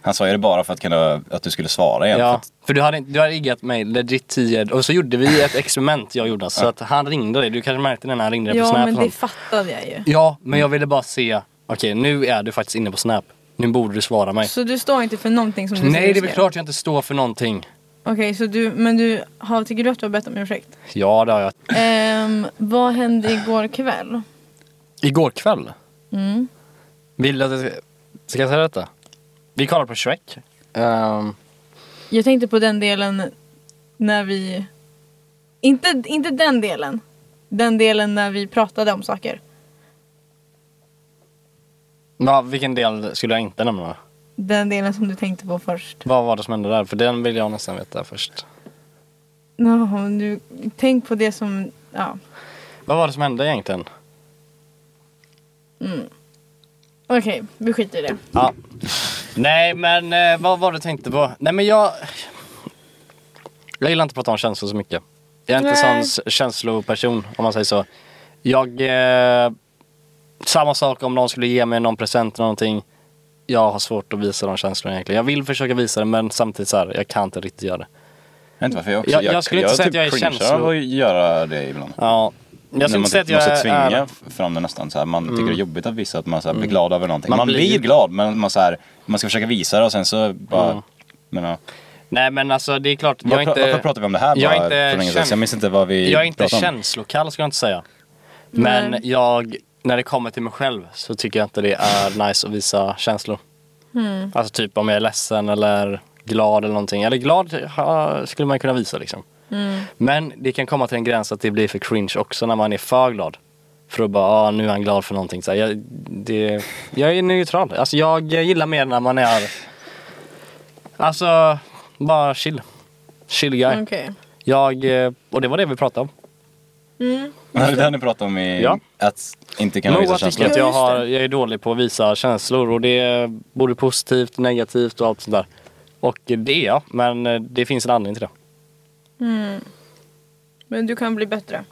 Speaker 4: Han sa ju det bara för att, kunna, att du skulle svara igen. För
Speaker 3: Ja,
Speaker 4: att-
Speaker 3: för du hade, inte- du hade riggat mig legit 10 och så gjorde vi ett experiment jag gjorde så att han ringde dig. Du kanske märkte det när han ringde dig på
Speaker 2: Ja
Speaker 3: Snap.
Speaker 2: men
Speaker 3: och
Speaker 2: det
Speaker 3: sånt.
Speaker 2: fattade jag ju.
Speaker 3: Ja, men jag ville bara se. Okej, nu är du faktiskt inne på Snap. Nu borde du svara mig.
Speaker 2: Så du står inte för någonting som du
Speaker 3: Nej,
Speaker 2: säger
Speaker 3: det är väl
Speaker 2: skrev?
Speaker 3: klart jag inte står för någonting.
Speaker 2: Okej, så du, men du, har, tycker du att du har bett om ursäkt?
Speaker 3: Ja, det har jag.
Speaker 2: Ehm, vad hände igår kväll?
Speaker 3: Igår kväll.
Speaker 2: Mm.
Speaker 3: Vill du att jag ska, ska jag säga detta? Vi kollade på Shrek. Ehm,
Speaker 2: Jag tänkte på den delen när vi... Inte, inte den delen. Den delen när vi pratade om saker.
Speaker 3: ja, vilken del skulle jag inte nämna?
Speaker 2: Den delen som du tänkte på först.
Speaker 3: Vad var det som hände där? För den vill jag nästan veta först.
Speaker 2: No, du, tänk på det som... Ja.
Speaker 3: Vad var det som hände egentligen?
Speaker 2: Okej, vi skiter i det.
Speaker 3: Ja. Nej men eh, vad var det du tänkte på? Nej men jag... Jag gillar inte att prata om känslor så mycket. Jag är inte
Speaker 2: Nej.
Speaker 3: en sån s- känsloperson om man säger så. Jag... Eh, samma sak om någon skulle ge mig någon present eller någonting. Jag har svårt att visa de känslorna egentligen. Jag vill försöka visa det men samtidigt så här, jag kan inte riktigt göra det.
Speaker 4: Jag vet inte varför jag också...
Speaker 3: Jag- jag skulle inte säga att jag är
Speaker 4: cringear
Speaker 3: känslo-
Speaker 4: av att göra det ibland.
Speaker 3: Ja. Jag
Speaker 4: När
Speaker 3: skulle
Speaker 4: man
Speaker 3: inte säga att
Speaker 4: typ måste
Speaker 3: jag
Speaker 4: tvinga
Speaker 3: är... Mm.
Speaker 4: fram det nästan. Så här, man tycker det är jobbigt att visa att man så här, blir glad över någonting.
Speaker 3: Man
Speaker 4: Man, blir...
Speaker 3: blir-
Speaker 4: glad men man, så här, man ska försöka visa det och sen så bara... Men, ja.
Speaker 3: Nej men alltså det är klart, jag
Speaker 4: Var,
Speaker 3: är Mm. inte...
Speaker 4: Varför pratar vi om det här
Speaker 3: jag är
Speaker 4: bara
Speaker 3: inte
Speaker 4: för länge sedan?
Speaker 3: käns-
Speaker 4: Jag minns inte vad vi
Speaker 3: Jag är inte
Speaker 4: pratade om.
Speaker 3: känslokall ska jag inte säga. Men
Speaker 2: Nej.
Speaker 3: jag, när det kommer till mig själv så tycker jag inte det är nice att visa känslor. Alltså typ om jag är ledsen eller glad eller någonting. Eller glad ja, skulle man kunna visa liksom. Men det kan komma till en gräns att det blir för cringe också när man är för glad. För att bara, ah, nu är han glad för någonting. Så här, jag, det, jag är neutral. Alltså jag gillar mer när man är, alltså bara chill. Chill guy.
Speaker 2: Okej.
Speaker 3: Jag, eh, och det var det vi pratade om.
Speaker 4: Det är det här ni pratade om i...
Speaker 3: Ja.
Speaker 4: Att inte kunna
Speaker 3: Moa
Speaker 4: visa
Speaker 3: tycker
Speaker 4: känslor.
Speaker 3: att
Speaker 2: Ja,
Speaker 3: jag,
Speaker 2: just
Speaker 3: har,
Speaker 2: det.
Speaker 3: jag är dålig på att visa känslor och det är både positivt, negativt och allt sånt där. Och det är jag, men eh, det finns en anledning till det.
Speaker 2: Men du kan bli bättre.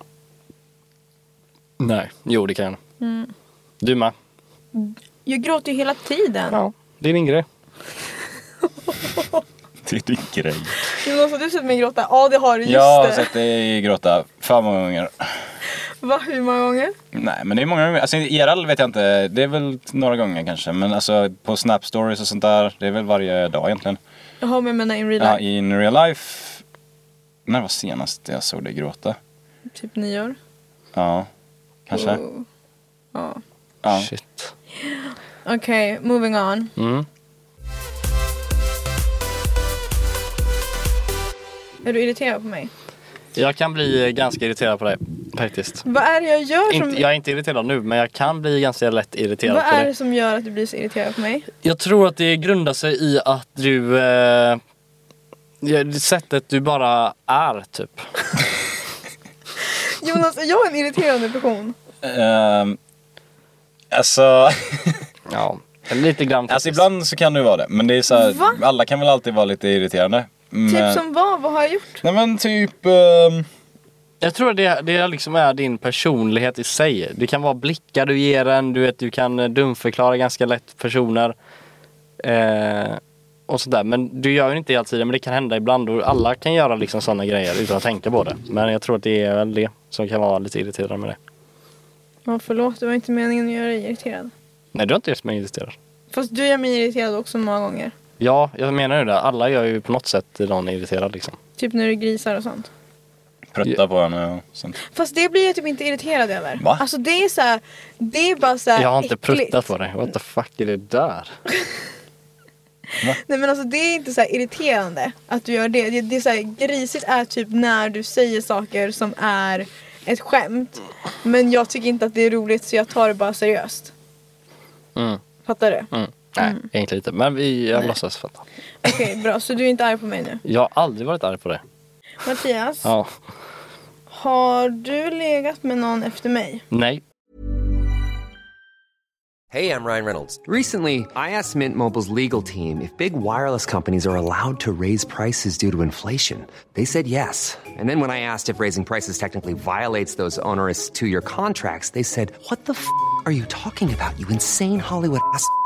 Speaker 3: Nej. Jo, det kan jag. Mm. Du med.
Speaker 2: Jag gråter ju hela tiden.
Speaker 3: Ja, det är din grej.
Speaker 4: Det är din grej.
Speaker 2: Jonas, har du sett mig typ gråta? Ja, det har du. Just
Speaker 4: Jag har
Speaker 2: det.
Speaker 3: alltså-
Speaker 4: sett dig gråta för många gånger.
Speaker 2: Va, hur många gånger?
Speaker 4: Nej men det är många gånger. Alltså i IRL vet jag inte. Det är väl några gånger kanske. Men alltså på Snap stories och sånt där. Det är väl varje dag egentligen.
Speaker 2: Jag har med mina in real
Speaker 4: Ja,
Speaker 2: life.
Speaker 4: in real life. När var senast jag såg dig gråta?
Speaker 2: Typ nio år.
Speaker 4: Ja, kanske.
Speaker 2: Oh. Ja.
Speaker 4: Ja.
Speaker 3: Shit.
Speaker 2: Okej, moving on.
Speaker 3: Mm.
Speaker 2: Är du irriterad på mig?
Speaker 3: Jag kan bli eh, ganska irriterad på dig, faktiskt.
Speaker 2: Vad är det jag gör som...
Speaker 3: Inte, jag är inte irriterad nu, men jag kan bli ganska lätt irriterad
Speaker 2: vad
Speaker 3: på
Speaker 2: är
Speaker 3: dig.
Speaker 2: det som gör att du blir så irriterad på mig?
Speaker 3: Jag tror att det grundar sig i att du... Eh, ja, det sättet du bara är, typ.
Speaker 2: Jonas, är jag en irriterande person?
Speaker 4: Ehm, alltså,
Speaker 3: Ja. Lite grann
Speaker 4: alltså
Speaker 3: faktiskt.
Speaker 4: ibland så kan det ju vara det. Men det är så här,
Speaker 2: Va?
Speaker 4: alla kan väl alltid vara lite irriterande. Men,
Speaker 2: Typ som vad? Vad har jag gjort?
Speaker 4: Nej men typ... ehm,
Speaker 3: Jag tror det, det liksom är din personlighet i sig. Det kan vara blickar du ger en, du vet du kan eh, dumförklara ganska lätt personer. Eh, och sådär. Men du gör ju inte det hela tiden men det kan hända ibland och alla kan göra liksom sådana grejer utan att tänka på det. Men jag tror att det är väl det som kan vara lite irriterande med det.
Speaker 2: Ja, förlåt, det var inte meningen att göra dig irriterad.
Speaker 3: Nej du har inte gjort mig irriterad.
Speaker 2: Fast du gör mig irriterad också många gånger.
Speaker 3: Ja, jag menar ju det. Alla gör ju på något sätt någon irriterad liksom.
Speaker 2: Typ när du grisar och sånt.
Speaker 4: Prutta på henne och sånt.
Speaker 2: Fast det blir jag typ inte irriterad över.
Speaker 4: Va?
Speaker 2: Alltså det är så här, det är bara så här
Speaker 3: Jag har inte
Speaker 2: äckligt.
Speaker 3: pruttat på dig. What the fuck är det där?
Speaker 2: Nej men alltså det är inte så här irriterande att du gör det. Det, det är så här, grisigt är typ när du säger saker som är ett skämt. Men jag tycker inte att det är roligt så jag tar det bara seriöst.
Speaker 3: Mm.
Speaker 2: Fattar du?
Speaker 3: Mm. Nej, egentligen inte. Men vi, jag låtsas fatta.
Speaker 2: Okej bra, så du är inte arg på mig nu.
Speaker 3: Jag har aldrig varit arg på det.
Speaker 2: Mattias,
Speaker 3: Ja.
Speaker 2: har du legat med någon efter mig?
Speaker 3: Nej.
Speaker 6: Hey, I'm Ryan Reynolds. Recently, I asked Mint Mobile's legal team if big wireless companies are allowed to raise prices due to inflation. They said yes. And then when I asked if raising prices technically violates those onerous two year contracts, they said, What the f are you talking about, you insane Hollywood ass? f- a-"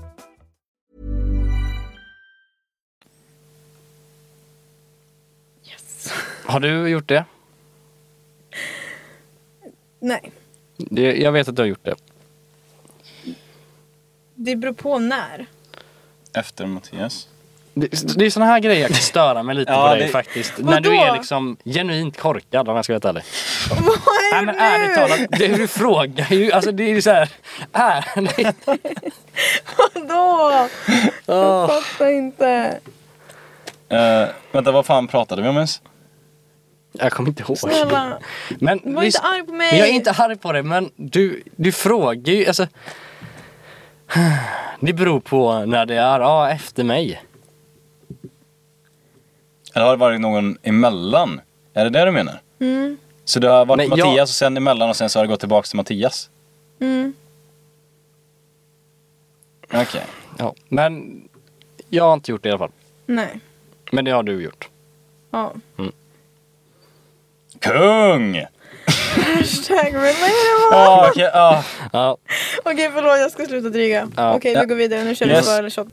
Speaker 3: Har du gjort det?
Speaker 2: Nej.
Speaker 3: Det- Jag vet att du har gjort det.
Speaker 2: Det beror på när.
Speaker 4: Efter Mattias.
Speaker 3: Det, det är såna här grejer jag kan störa mig lite
Speaker 4: Ja,
Speaker 3: på dig
Speaker 4: det-
Speaker 3: faktiskt.
Speaker 2: Vadå?
Speaker 3: När du är liksom genuint korkad om jag ska vara helt ärlig.
Speaker 2: Vad är
Speaker 3: Nej men ärligt talat, det du frågar ju, alltså det är ju såhär, ärligt.
Speaker 2: Vadå? Jag fattar inte.
Speaker 4: Eh, vänta, vad fan pratade vi om ens?
Speaker 3: Jag kommer inte ihåg.
Speaker 2: Snälla.
Speaker 3: Men,
Speaker 2: Var inte arg på mig.
Speaker 3: men jag är inte arg på dig men du, du frågar ju, alltså. Det beror på när det är, ja efter mig.
Speaker 4: Eller har det varit någon emellan? Är det det du menar?
Speaker 2: Mm.
Speaker 4: Så det har varit
Speaker 3: Men jag-
Speaker 4: Mattias och sen emellan och sen så har det gått tillbaks till Mattias?
Speaker 2: Mm.
Speaker 4: Okej.
Speaker 3: Ja. Men jag har inte gjort det i alla fall.
Speaker 2: Nej.
Speaker 3: Men det har du gjort.
Speaker 2: Ja.
Speaker 4: Kung!
Speaker 2: Hashtag relatable.
Speaker 4: Ja, okej, ja.
Speaker 3: Ja.
Speaker 2: Okej förlåt jag ska sluta dryga.
Speaker 3: Ja.
Speaker 2: Okej
Speaker 4: Ja.
Speaker 2: vi går vidare, nu kör vi
Speaker 4: Yes.
Speaker 2: svar eller shot.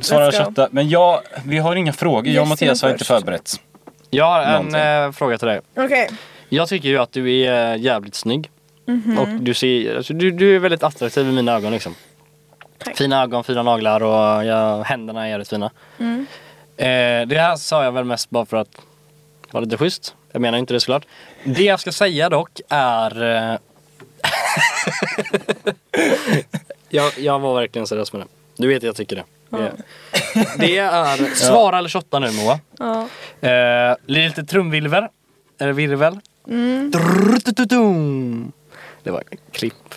Speaker 4: Svara
Speaker 2: Let's go.
Speaker 4: chatta. Men jag, vi har inga frågor. Jag och
Speaker 2: Yes,
Speaker 4: Mattias har
Speaker 2: jag
Speaker 4: inte
Speaker 2: först.
Speaker 4: förberett.
Speaker 3: Jag har en
Speaker 4: Någonting.
Speaker 3: eh, fråga till dig.
Speaker 2: Okej,
Speaker 3: Jag tycker ju att du är eh, jävligt snygg.
Speaker 2: Mhm.
Speaker 3: Och du ser, alltså, du, du är väldigt attraktiv i mina ögon liksom.
Speaker 2: Tack.
Speaker 3: Fina ögon, fina naglar och ja, händerna är jävligt fina.
Speaker 2: Mm.
Speaker 3: Eh, det här sa jag väl mest bara för att vara lite schysst. Jag menar inte det såklart. Det jag ska säga dock är... Eh... jag, jag var verkligen seriös med det. Du vet att jag tycker det. Det- Det är... Svara eller shotta nu Moa.
Speaker 2: ja.
Speaker 3: Eh, lite trumvirvel. Eller virvel. Drrrtututum. Det var klipp.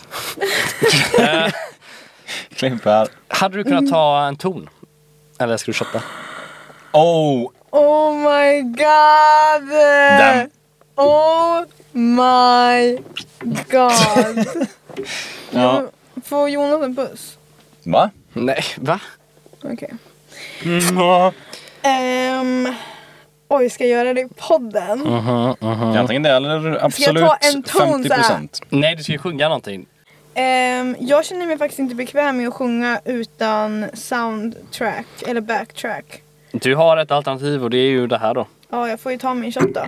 Speaker 4: Klipp här.
Speaker 3: Hade du kunnat ta en ton? Eller ska du shotta?
Speaker 4: Oh!
Speaker 2: Oh my god!
Speaker 4: Den.
Speaker 2: Oh my god!
Speaker 4: Ja.
Speaker 2: Mm. Får Jonas en puss?
Speaker 4: Va?
Speaker 3: Nej, va?
Speaker 2: Okej.
Speaker 4: Ja.
Speaker 2: Ehm, oj, ska jag göra det i podden?
Speaker 4: Ja, Antingen det eller absolut
Speaker 2: ta en ton så
Speaker 4: 50
Speaker 2: här?
Speaker 4: procent.
Speaker 3: Nej, du ska ju sjunga någonting.
Speaker 2: Ehm, jag känner mig faktiskt inte bekväm med att sjunga utan soundtrack eller backtrack.
Speaker 3: Du har ett alternativ och det är ju det här då.
Speaker 2: Ja, jag får ju ta min shot då.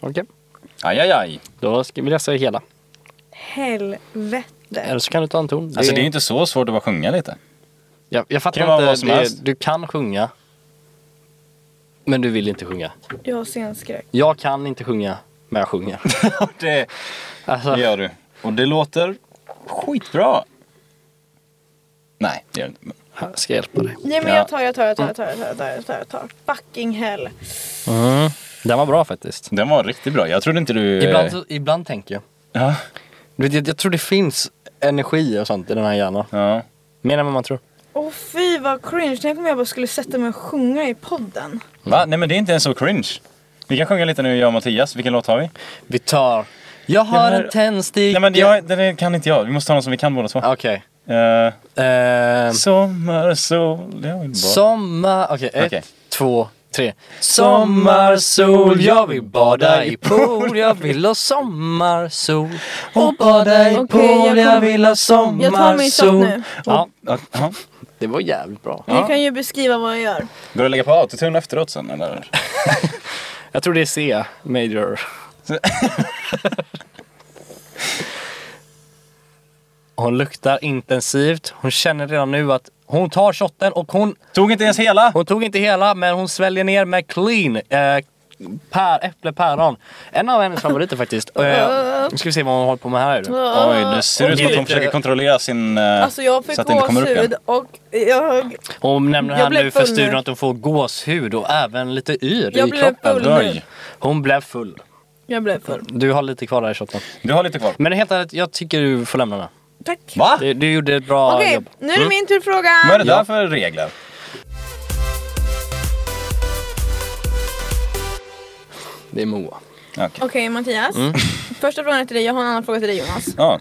Speaker 3: Okej.
Speaker 4: Aj, aj, aj.
Speaker 3: Då ska vill jag säga hela.
Speaker 2: Helvete.
Speaker 3: Eller så kan du ta en ton.
Speaker 4: Alltså det är ju inte så svårt att bara sjunga lite.
Speaker 3: jag, jag fattar
Speaker 4: kan vara vad
Speaker 3: inte.
Speaker 4: som
Speaker 3: Det,
Speaker 4: helst.
Speaker 3: är- du kan sjunga. Men du vill inte sjunga.
Speaker 2: Jag har scenskräck.
Speaker 3: Jag kan inte sjunga, men jag sjunger.
Speaker 4: Det,
Speaker 3: Alltså,
Speaker 4: det gör du. Och det låter skitbra. Nej, det gör det inte. Men-
Speaker 3: här ska jag hjälpa dig.
Speaker 2: Nej men
Speaker 4: Ja.
Speaker 2: jag tar, jag tar, jag tar, jag tar, jag tar, jag tar, jag tar, jag tar. Fucking hell.
Speaker 3: Den var bra faktiskt.
Speaker 4: Den var riktigt bra. Jag trodde inte du... eh,
Speaker 3: Ibland, så- ibland tänker jag.
Speaker 4: Ja.
Speaker 3: Du vet, jag, jag tror det finns energi och sånt i den här hjärnan.
Speaker 4: ja.
Speaker 3: Mer än vad man tror.
Speaker 2: Åh fy vad cringe, tänk om jag bara skulle sätta mig och sjunga i podden.
Speaker 4: Va? Nej men det är inte ens så cringe. Vi kan sjunga lite nu jag och Mattias. Vilken låt har vi?
Speaker 3: Vi tar... Jag har
Speaker 4: Jag har-
Speaker 3: en tändsticka.
Speaker 4: Nej men jag, den är- kan inte jag. Vi måste ta någon som vi kan båda två.
Speaker 3: Okej.
Speaker 4: Eh,
Speaker 3: Ehm,
Speaker 4: sommar, sol, jag vill bara...
Speaker 3: Sommar... Okej, ett,
Speaker 4: Okej.
Speaker 3: två, tre. Sommarsol, jag vill bada i pool. Jag vill ha sommarsol. Och bada i
Speaker 2: Okej,
Speaker 3: pool,
Speaker 2: jag
Speaker 3: jag
Speaker 2: kommer-
Speaker 3: vill ha
Speaker 2: Jag tar min shot
Speaker 3: sommarsol.
Speaker 2: nu.
Speaker 3: Ja,
Speaker 4: Ja, ja.
Speaker 3: det var jävligt bra.
Speaker 2: Ni kan ju beskriva vad jag gör.
Speaker 4: Går det att lägga på autotune efteråt sen eller?
Speaker 3: Jag tror det är C, major. Hon luktar intensivt. Hon känner redan nu att hon tar shotten och hon,
Speaker 4: Tog inte ens hela!
Speaker 3: hon tog inte hela men hon sväljer ner med clean. Eh, pär, äpple, päron. En av hennes favoriter faktiskt. Eh, nu ska vi se vad hon håller på med här. nu.
Speaker 4: Oj, det ser ut som att
Speaker 3: Gud.
Speaker 4: hon försöker kontrollera sin... eh,
Speaker 2: Ah. Alltså jag fick
Speaker 4: så att det inte kommer upp igen.
Speaker 2: gåshud och jag,
Speaker 3: Hon nämner
Speaker 2: Jag
Speaker 3: här
Speaker 2: blev
Speaker 3: nu för
Speaker 2: full nu.
Speaker 3: studion att hon får gåshud och även lite yr
Speaker 2: jag
Speaker 3: i
Speaker 2: blev full
Speaker 3: kroppen.
Speaker 2: nu.
Speaker 4: Oj.
Speaker 3: Hon blev full.
Speaker 2: Jag blev full.
Speaker 3: Du har lite kvar där i shotten.
Speaker 4: Du har lite kvar.
Speaker 3: Men helt ärligt, jag tycker du får lämna den.
Speaker 2: Tack.
Speaker 4: Va?
Speaker 3: Du, du gjorde ett bra
Speaker 2: Okej,
Speaker 3: jobb.
Speaker 2: nu är det min tur att fråga.
Speaker 4: Vad är det där för regler?
Speaker 3: Det är Moa.
Speaker 4: Okej.
Speaker 2: Okej Mattias.
Speaker 4: Mm.
Speaker 2: Första frågan är till dig, jag har en annan fråga till dig Jonas.
Speaker 4: Ja.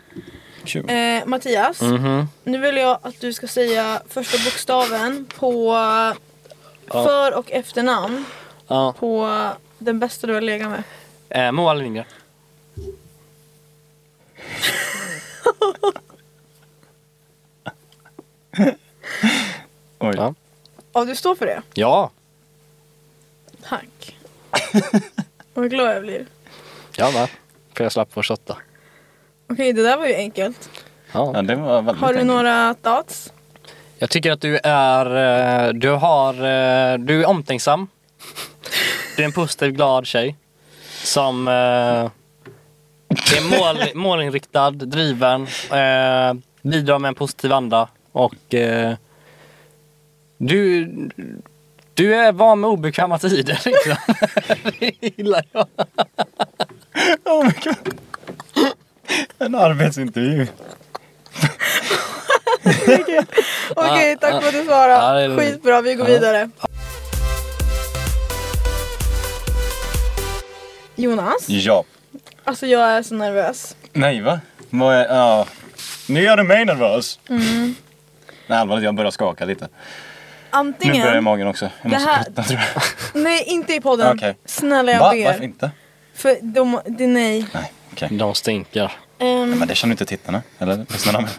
Speaker 4: Kul.
Speaker 2: Eh, Mattias,
Speaker 3: Mhm.
Speaker 2: nu vill jag att du ska säga första bokstaven på för och efternamn
Speaker 3: Ja.
Speaker 2: på den bästa du har legat med.
Speaker 3: Eh, Moa Lindgren.
Speaker 4: Oj.
Speaker 3: Ja.
Speaker 2: Ja, du står för det?
Speaker 3: Ja.
Speaker 2: Tack. Vad glad jag blir.
Speaker 3: Jag med. För jag slapp vara shotta.
Speaker 2: Okej, det där var ju enkelt.
Speaker 4: Ja, det var väldigt
Speaker 2: Har du
Speaker 4: enkelt.
Speaker 2: några thoughts?
Speaker 3: Jag tycker att du är... eh, Du har... eh, Du är omtänksam. Du är en positiv, glad tjej. Som... eh, Är mål, målinriktad, driven. eh, Bidrar med en positiv anda. Och... eh, Du... Du är van med obekväma tider liksom. Det gillar jag.
Speaker 4: Oh my god. En arbetsintervju.
Speaker 2: Okej, tack för att du
Speaker 3: Ah, Ja, det är
Speaker 2: svarade.
Speaker 3: lugnt.
Speaker 2: Skitbra, vi går vidare. Jonas,
Speaker 4: Ja.
Speaker 2: alltså jag är så nervös.
Speaker 4: Nej va? Vad är, ja. Nu gör du mig nervös.
Speaker 2: Mm.
Speaker 4: Nej allvarligt, jag börjar skaka lite. Nu börjar
Speaker 2: Antingen,
Speaker 4: magen också. Jag
Speaker 2: Det
Speaker 4: måste
Speaker 2: här-
Speaker 4: prutta tror jag.
Speaker 2: nej inte i podden.
Speaker 4: Okej.
Speaker 2: Snälla jag
Speaker 4: Va? Varför
Speaker 2: ber.
Speaker 4: inte?
Speaker 2: För de, det, nej.
Speaker 4: Nej, okej.
Speaker 3: De stinker.
Speaker 2: Ehm,
Speaker 4: Men det känner inte tittarna. Eller lyssnarna. med.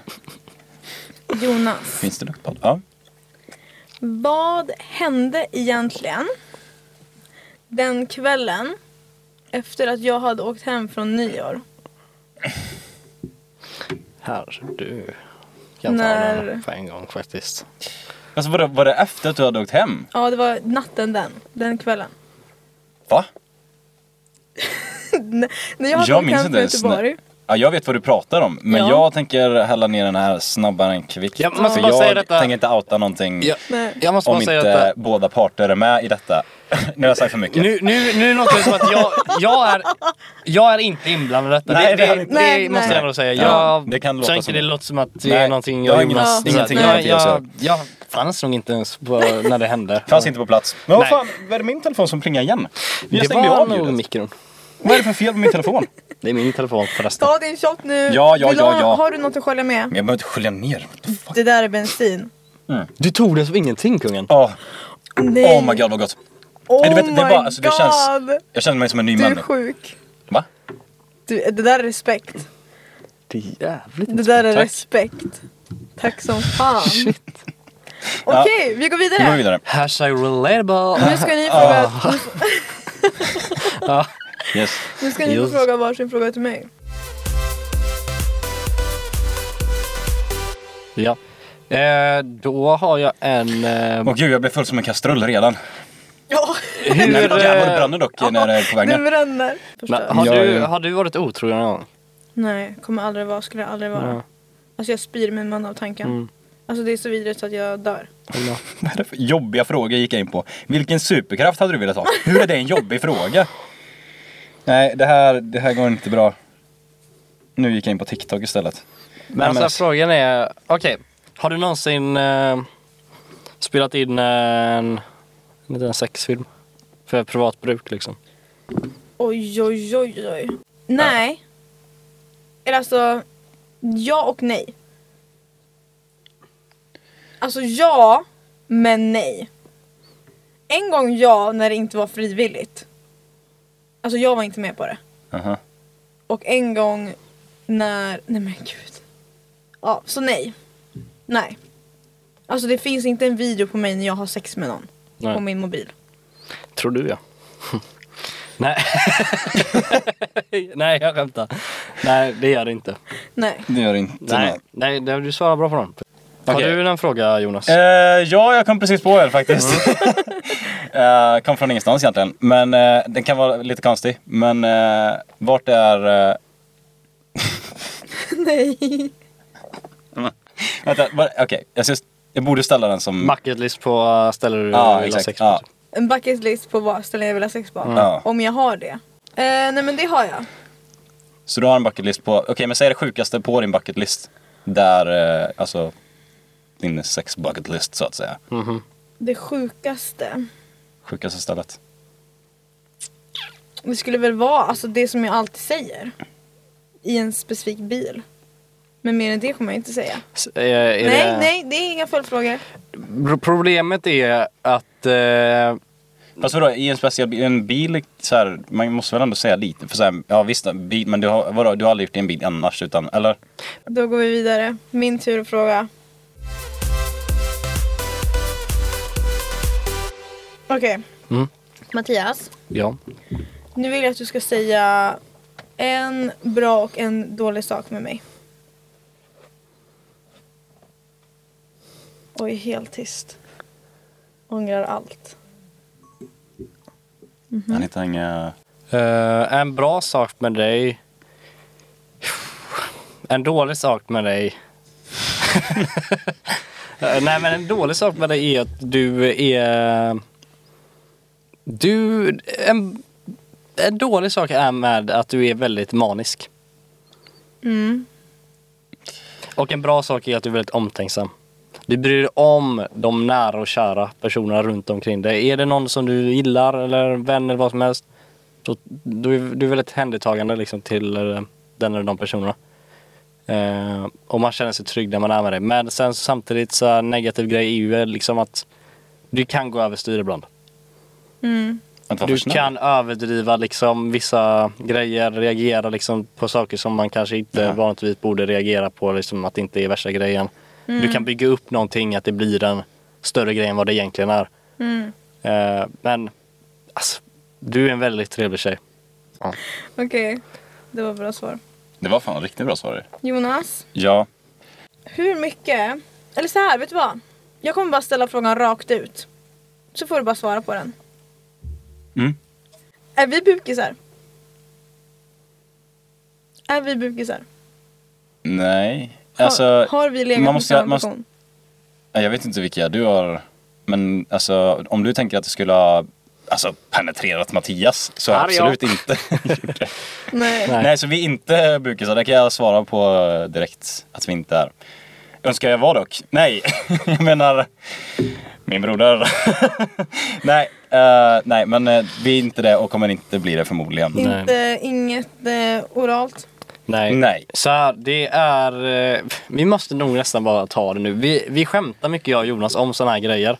Speaker 2: Jonas,
Speaker 4: Finns det luktpodd? Ja.
Speaker 2: vad hände egentligen den kvällen efter att jag hade åkt hem från nyår?
Speaker 3: Här, du kan
Speaker 2: När-
Speaker 3: ta den på en gång faktiskt.
Speaker 4: Alltså var det, var det efter att du hade åkt hem?
Speaker 2: Ja, det var natten den, den kvällen.
Speaker 4: Va?
Speaker 2: När jag hade
Speaker 4: Jag
Speaker 2: åkt
Speaker 4: minns
Speaker 2: hem
Speaker 4: inte
Speaker 2: från
Speaker 4: ens
Speaker 2: Göteborg.
Speaker 4: Ja, jag vet vad du pratar om, men
Speaker 2: Ja.
Speaker 4: jag tänker hälla ner den här snabbare än kvickt.
Speaker 3: Jag måste
Speaker 4: för
Speaker 3: bara
Speaker 4: jag
Speaker 3: säga detta.
Speaker 4: tänker inte outa någonting
Speaker 3: Jag,
Speaker 2: Nej.
Speaker 3: jag måste
Speaker 4: om
Speaker 3: bara
Speaker 4: inte
Speaker 3: säga eh, detta.
Speaker 4: båda parter är med i detta. nu har jag sagt för mycket.
Speaker 3: Nu, nu, nu låter det som att jag, jag, är, jag är inte inblandad i detta.
Speaker 4: Nej,
Speaker 3: det,
Speaker 4: det
Speaker 3: det,
Speaker 4: är
Speaker 3: det,
Speaker 4: inte.
Speaker 2: Nej,
Speaker 3: måste
Speaker 2: nej.
Speaker 3: jag ändå säga.
Speaker 4: Ja,
Speaker 3: Jag
Speaker 4: det kan låta
Speaker 3: tänker
Speaker 4: som
Speaker 3: det
Speaker 4: det.
Speaker 3: låter som att det
Speaker 4: Nej,
Speaker 3: är någonting
Speaker 4: jag har ingen-
Speaker 3: Jonas...
Speaker 4: ingenting
Speaker 3: jag,
Speaker 4: med det att
Speaker 3: jag,
Speaker 4: göra.
Speaker 3: jag fanns nog inte ens på när det hände.
Speaker 4: Fanns inte på plats. Men vad
Speaker 3: Nej.
Speaker 4: fan, var det min telefon som plingade igen? Jag
Speaker 3: det
Speaker 4: stängde
Speaker 3: var
Speaker 4: av
Speaker 3: nog
Speaker 4: ljudet.
Speaker 3: mikron.
Speaker 4: Vad är det för fel på min telefon?
Speaker 3: Det är min telefon förresten.
Speaker 2: Ta din shot nu.
Speaker 4: Ja, ja,
Speaker 2: Vill du ha-
Speaker 4: ja, ja.
Speaker 2: Har du något att skölja
Speaker 4: Men
Speaker 2: med?
Speaker 4: jag behöver inte skölja ner. What the fuck?
Speaker 2: Det där är bensin.
Speaker 3: Du tog det som ingenting kungen.
Speaker 4: Åh,
Speaker 2: Nej.
Speaker 4: oh my god vad gott.
Speaker 2: Oh
Speaker 4: Nej, du vet, det är bara-
Speaker 2: my
Speaker 4: alltså, det känns-
Speaker 2: god.
Speaker 4: Jag känner mig som en ny
Speaker 2: Du är
Speaker 4: människa.
Speaker 2: sjuk.
Speaker 4: Va?
Speaker 2: Du, det där är respekt.
Speaker 3: Det är jävligt
Speaker 2: Det där är
Speaker 4: Tack.
Speaker 2: respekt. Tack som fan. Okej, vi går vidare.
Speaker 4: Nu går vi vidare.
Speaker 3: Hashtag relatable.
Speaker 2: Nu ska ni fråga,
Speaker 3: Ah.
Speaker 4: Yes.
Speaker 2: nu ska ni få
Speaker 3: Just.
Speaker 2: fråga varsin fråga till mig.
Speaker 3: Ja. Eh, då har jag en... Eh,
Speaker 4: Åh gud, jag blev full som en kastrull redan.
Speaker 2: Ja,
Speaker 4: Nej, men jävlar, det
Speaker 3: eh,
Speaker 4: brann dock när det är på väg
Speaker 2: det
Speaker 4: ner.
Speaker 2: bränner.
Speaker 3: men
Speaker 2: Förstör.
Speaker 3: har,
Speaker 4: Ja,
Speaker 3: du,
Speaker 4: ja.
Speaker 3: har du varit otrogen någon gång?
Speaker 2: Nej, kommer aldrig vara, skulle jag aldrig vara. Alltså jag spyr min man av tanken.
Speaker 3: Mm.
Speaker 2: Alltså det är så vidrigt så att jag dör.
Speaker 4: Vad är det för jobbiga frågor gick jag in på? Vilken superkraft hade du velat ha? Hur är det en jobbig fråga? Nej, det här, det här går inte bra. Nu gick jag in på TikTok istället.
Speaker 3: Men alltså
Speaker 4: men-
Speaker 3: frågan är, okej. har du någonsin eh, spelat in eh, en, en liten sexfilm? För privat bruk liksom.
Speaker 2: Oj, oj, oj, oj. Nej. Eller alltså, ja och nej. Alltså ja, men nej. En gång ja, när det inte var frivilligt. Alltså jag var inte med på det.
Speaker 4: Aha.
Speaker 2: Och en gång när, nej men gud. Ja, så nej. Nej. Alltså det finns inte en video på mig när jag har sex med någon.
Speaker 3: Nej.
Speaker 2: På min mobil.
Speaker 3: Tror du ja. Nej. Nej, jag skämtar. Nej, det gör det inte.
Speaker 2: Nej.
Speaker 4: Det gör det inte.
Speaker 3: Nej, nej det- du svarar bra på den. Har
Speaker 4: Okej.
Speaker 3: du en fråga Jonas?
Speaker 4: Eh, ja, jag kom precis på er faktiskt. Eh, kom från ingenstans egentligen. Men eh, den kan vara lite konstig. Men eh, vart är... eh,
Speaker 2: Nej.
Speaker 4: Vänta, var, okej. Jag, ska- jag borde ställa den som...
Speaker 3: Bucket list på uh, ställer du
Speaker 4: Ja,
Speaker 3: vill ha
Speaker 4: exakt.
Speaker 3: sex
Speaker 4: Ja.
Speaker 3: på. typ.
Speaker 2: En bucket list på vad ställen jag vill ha sex på.
Speaker 4: Ja.
Speaker 2: Om jag har det. Eh, nej men det har jag.
Speaker 4: Så du har en bucketlist på... Okej, men säg det sjukaste på din bucketlist. Där, eh, alltså... Din sex bucketlist så att säga.
Speaker 2: Det sjukaste.
Speaker 4: Sjukaste stället.
Speaker 2: Det skulle väl vara alltså, det som jag alltid säger. I en specifik bil. Men mer än det kommer jag inte säga.
Speaker 3: S- eh, är
Speaker 2: nej,
Speaker 3: det-
Speaker 2: nej, det är inga följdfrågor.
Speaker 3: Pro- Problemet är att eh,
Speaker 4: Fast vadå, i en speciell bil, en bil liksom, så här, man måste väl ändå säga lite. För så här, ja visst, en bil, men du har, vadå, du har aldrig gjort det i en bil annars utan, eller?
Speaker 2: Då går vi vidare. Min tur att fråga. Okej. Mattias.
Speaker 3: ja.
Speaker 2: Nu vill jag att du ska säga en bra och en dålig sak med mig. Oj, helt tyst. Ångrar allt.
Speaker 4: Han hittar inga...
Speaker 3: Eh, en bra sak med dig. En dålig sak med dig. Eh, nej men en dålig sak med dig är att du är... Du... En, en dålig sak är med att du är väldigt manisk. Och en bra sak är att du är väldigt omtänksam. Du bryr dig om de nära och kära personerna runt omkring dig. Är det någon som du gillar eller en vän eller vad som helst så du, är- du är väldigt händeltagande liksom till eh, den eller de personerna. Eh, och man känner sig trygg när man är med det. Men sen så samtidigt så här, negativ grej är ju liksom att du kan gå överstyr ibland.
Speaker 4: Att vara
Speaker 3: Du
Speaker 4: för snäll.
Speaker 3: kan överdriva liksom vissa grejer, reagera liksom på saker som man kanske inte
Speaker 4: Ja.
Speaker 3: vanligtvis borde reagera på, liksom att det inte är värsta grejen. Du kan bygga upp någonting att det blir en större grej än vad det egentligen är. Eh, men alltså, du är en väldigt trevlig tjej.
Speaker 2: Okej, det var bra svar.
Speaker 4: Det var fan riktigt bra svar.
Speaker 2: Jonas,
Speaker 4: Ja.
Speaker 2: hur mycket... Eller så här, vet du vad? Jag kommer bara ställa frågan rakt ut. Så får du bara svara på den.
Speaker 4: Mm.
Speaker 2: Är vi bukisar? Är vi bukisar?
Speaker 4: Nej.
Speaker 2: Har,
Speaker 4: Alltså,
Speaker 2: har vi legat
Speaker 4: man
Speaker 2: med
Speaker 4: måste-
Speaker 2: samma
Speaker 4: man-
Speaker 2: person?
Speaker 4: jag vet inte vilka du har. Men alltså, om du tänker att du skulle ha alltså, penetrerat Mattias så har jag
Speaker 3: Här är jag.
Speaker 4: absolut inte gjort det.
Speaker 2: Nej.
Speaker 3: Nej.
Speaker 4: Nej, så vi är inte bukisar. Det kan jag svara på eh, direkt att vi inte är. Önskar jag var dock. Nej, jag menar min broder. nej, eh, nej, men eh, vi är inte det och kommer inte bli det förmodligen.
Speaker 2: Inte, inget eh, oralt?
Speaker 3: Nej.
Speaker 4: Nej.
Speaker 3: Så här, det är... eh, Vi måste nog nästan bara ta det nu. Vi, vi skämtar mycket jag och Jonas om sådana här grejer.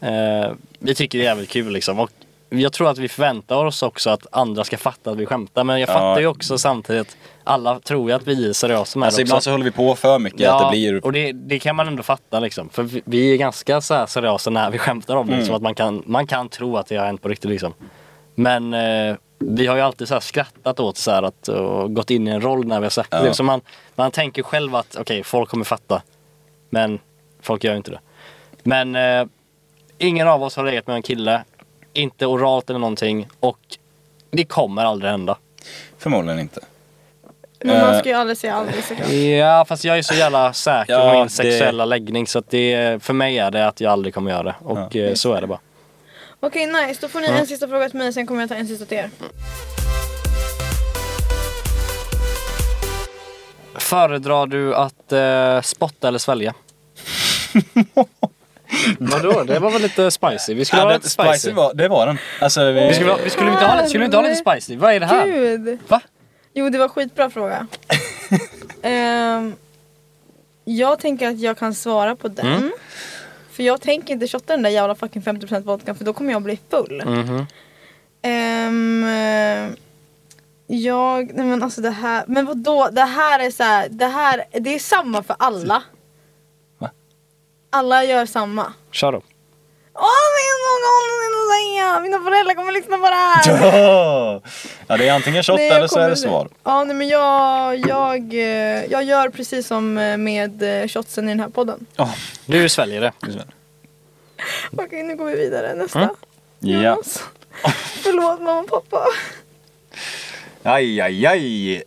Speaker 3: Eh, vi tycker det är jävligt kul liksom. Och jag tror att vi förväntar oss också att andra ska fatta att vi skämtar. Men jag
Speaker 4: Ja.
Speaker 3: fattar ju också samtidigt, alla tror ju att vi är seriösa med
Speaker 4: Alltså
Speaker 3: det också.
Speaker 4: ibland så håller vi på för mycket att det blir
Speaker 3: och det, det kan man ändå fatta liksom. För vi, vi är ganska så här seriösa när vi skämtar
Speaker 4: Mm.
Speaker 3: om det. Liksom, att man kan, man kan tro att det har hänt på riktigt liksom. Men eh, vi har ju alltid så här skrattat åt så här att, och gått in i en roll när vi har sagt det. Så man, man tänker själv att okej, folk kommer fatta. Men folk gör ju inte det. Men eh, ingen av oss har legat med en kille. Inte oralt eller någonting. Och det kommer aldrig hända.
Speaker 4: förmodligen inte.
Speaker 2: Men
Speaker 4: Eh.
Speaker 2: man ska ju aldrig säga aldrig såklart.
Speaker 3: Ja, fast jag är så jävla säker
Speaker 4: Ja,
Speaker 3: på min
Speaker 4: det-
Speaker 3: sexuella läggning så att det, för mig är det att jag aldrig kommer göra det. Och eh, så är det bara.
Speaker 2: Okej nice, då får ni en sista fråga till mig sen kommer jag ta en sista till er.
Speaker 3: Föredrar du att eh, spotta eller svälja? Vadå? Det var väl lite spicy? Vi skulle
Speaker 4: Ja,
Speaker 3: ha
Speaker 4: den,
Speaker 3: lite spicy.
Speaker 4: spicy var, det var den. Alltså, vi,
Speaker 3: Vi skulle, ha- vi skulle inte ha, lite- skulle vi inte ha lite spicy? Vad är det här?
Speaker 2: Gud!
Speaker 3: Va?
Speaker 2: Jo det var skitbra fråga. Ehm, jag tänker att jag kan svara på den. För jag tänker inte shotta den där jävla fucking 50% vodkan för då kommer jag bli full. Ehm, eh, jag, nej men alltså det här, men vadå? Det här är så här, det här, det är samma för alla.
Speaker 4: Va?
Speaker 2: Alla gör samma.
Speaker 3: Kör då.
Speaker 2: Åh, det är så konstigt att säga! Mina föräldrar kommer lyssna på det här!
Speaker 4: Ja, det är antingen shot
Speaker 2: Nej, jag
Speaker 4: eller så är
Speaker 2: kommer-
Speaker 4: det svar.
Speaker 2: Ja, nej, men jag, jag, eh, jag gör precis som eh, med eh, shotsen i den här podden.
Speaker 4: Ja.
Speaker 3: Du sväljer det.
Speaker 2: Okej, nu går vi vidare. Nästa.
Speaker 4: Mm. Ja.
Speaker 2: Förlåt mamma och pappa.
Speaker 4: Aj, aj, aj.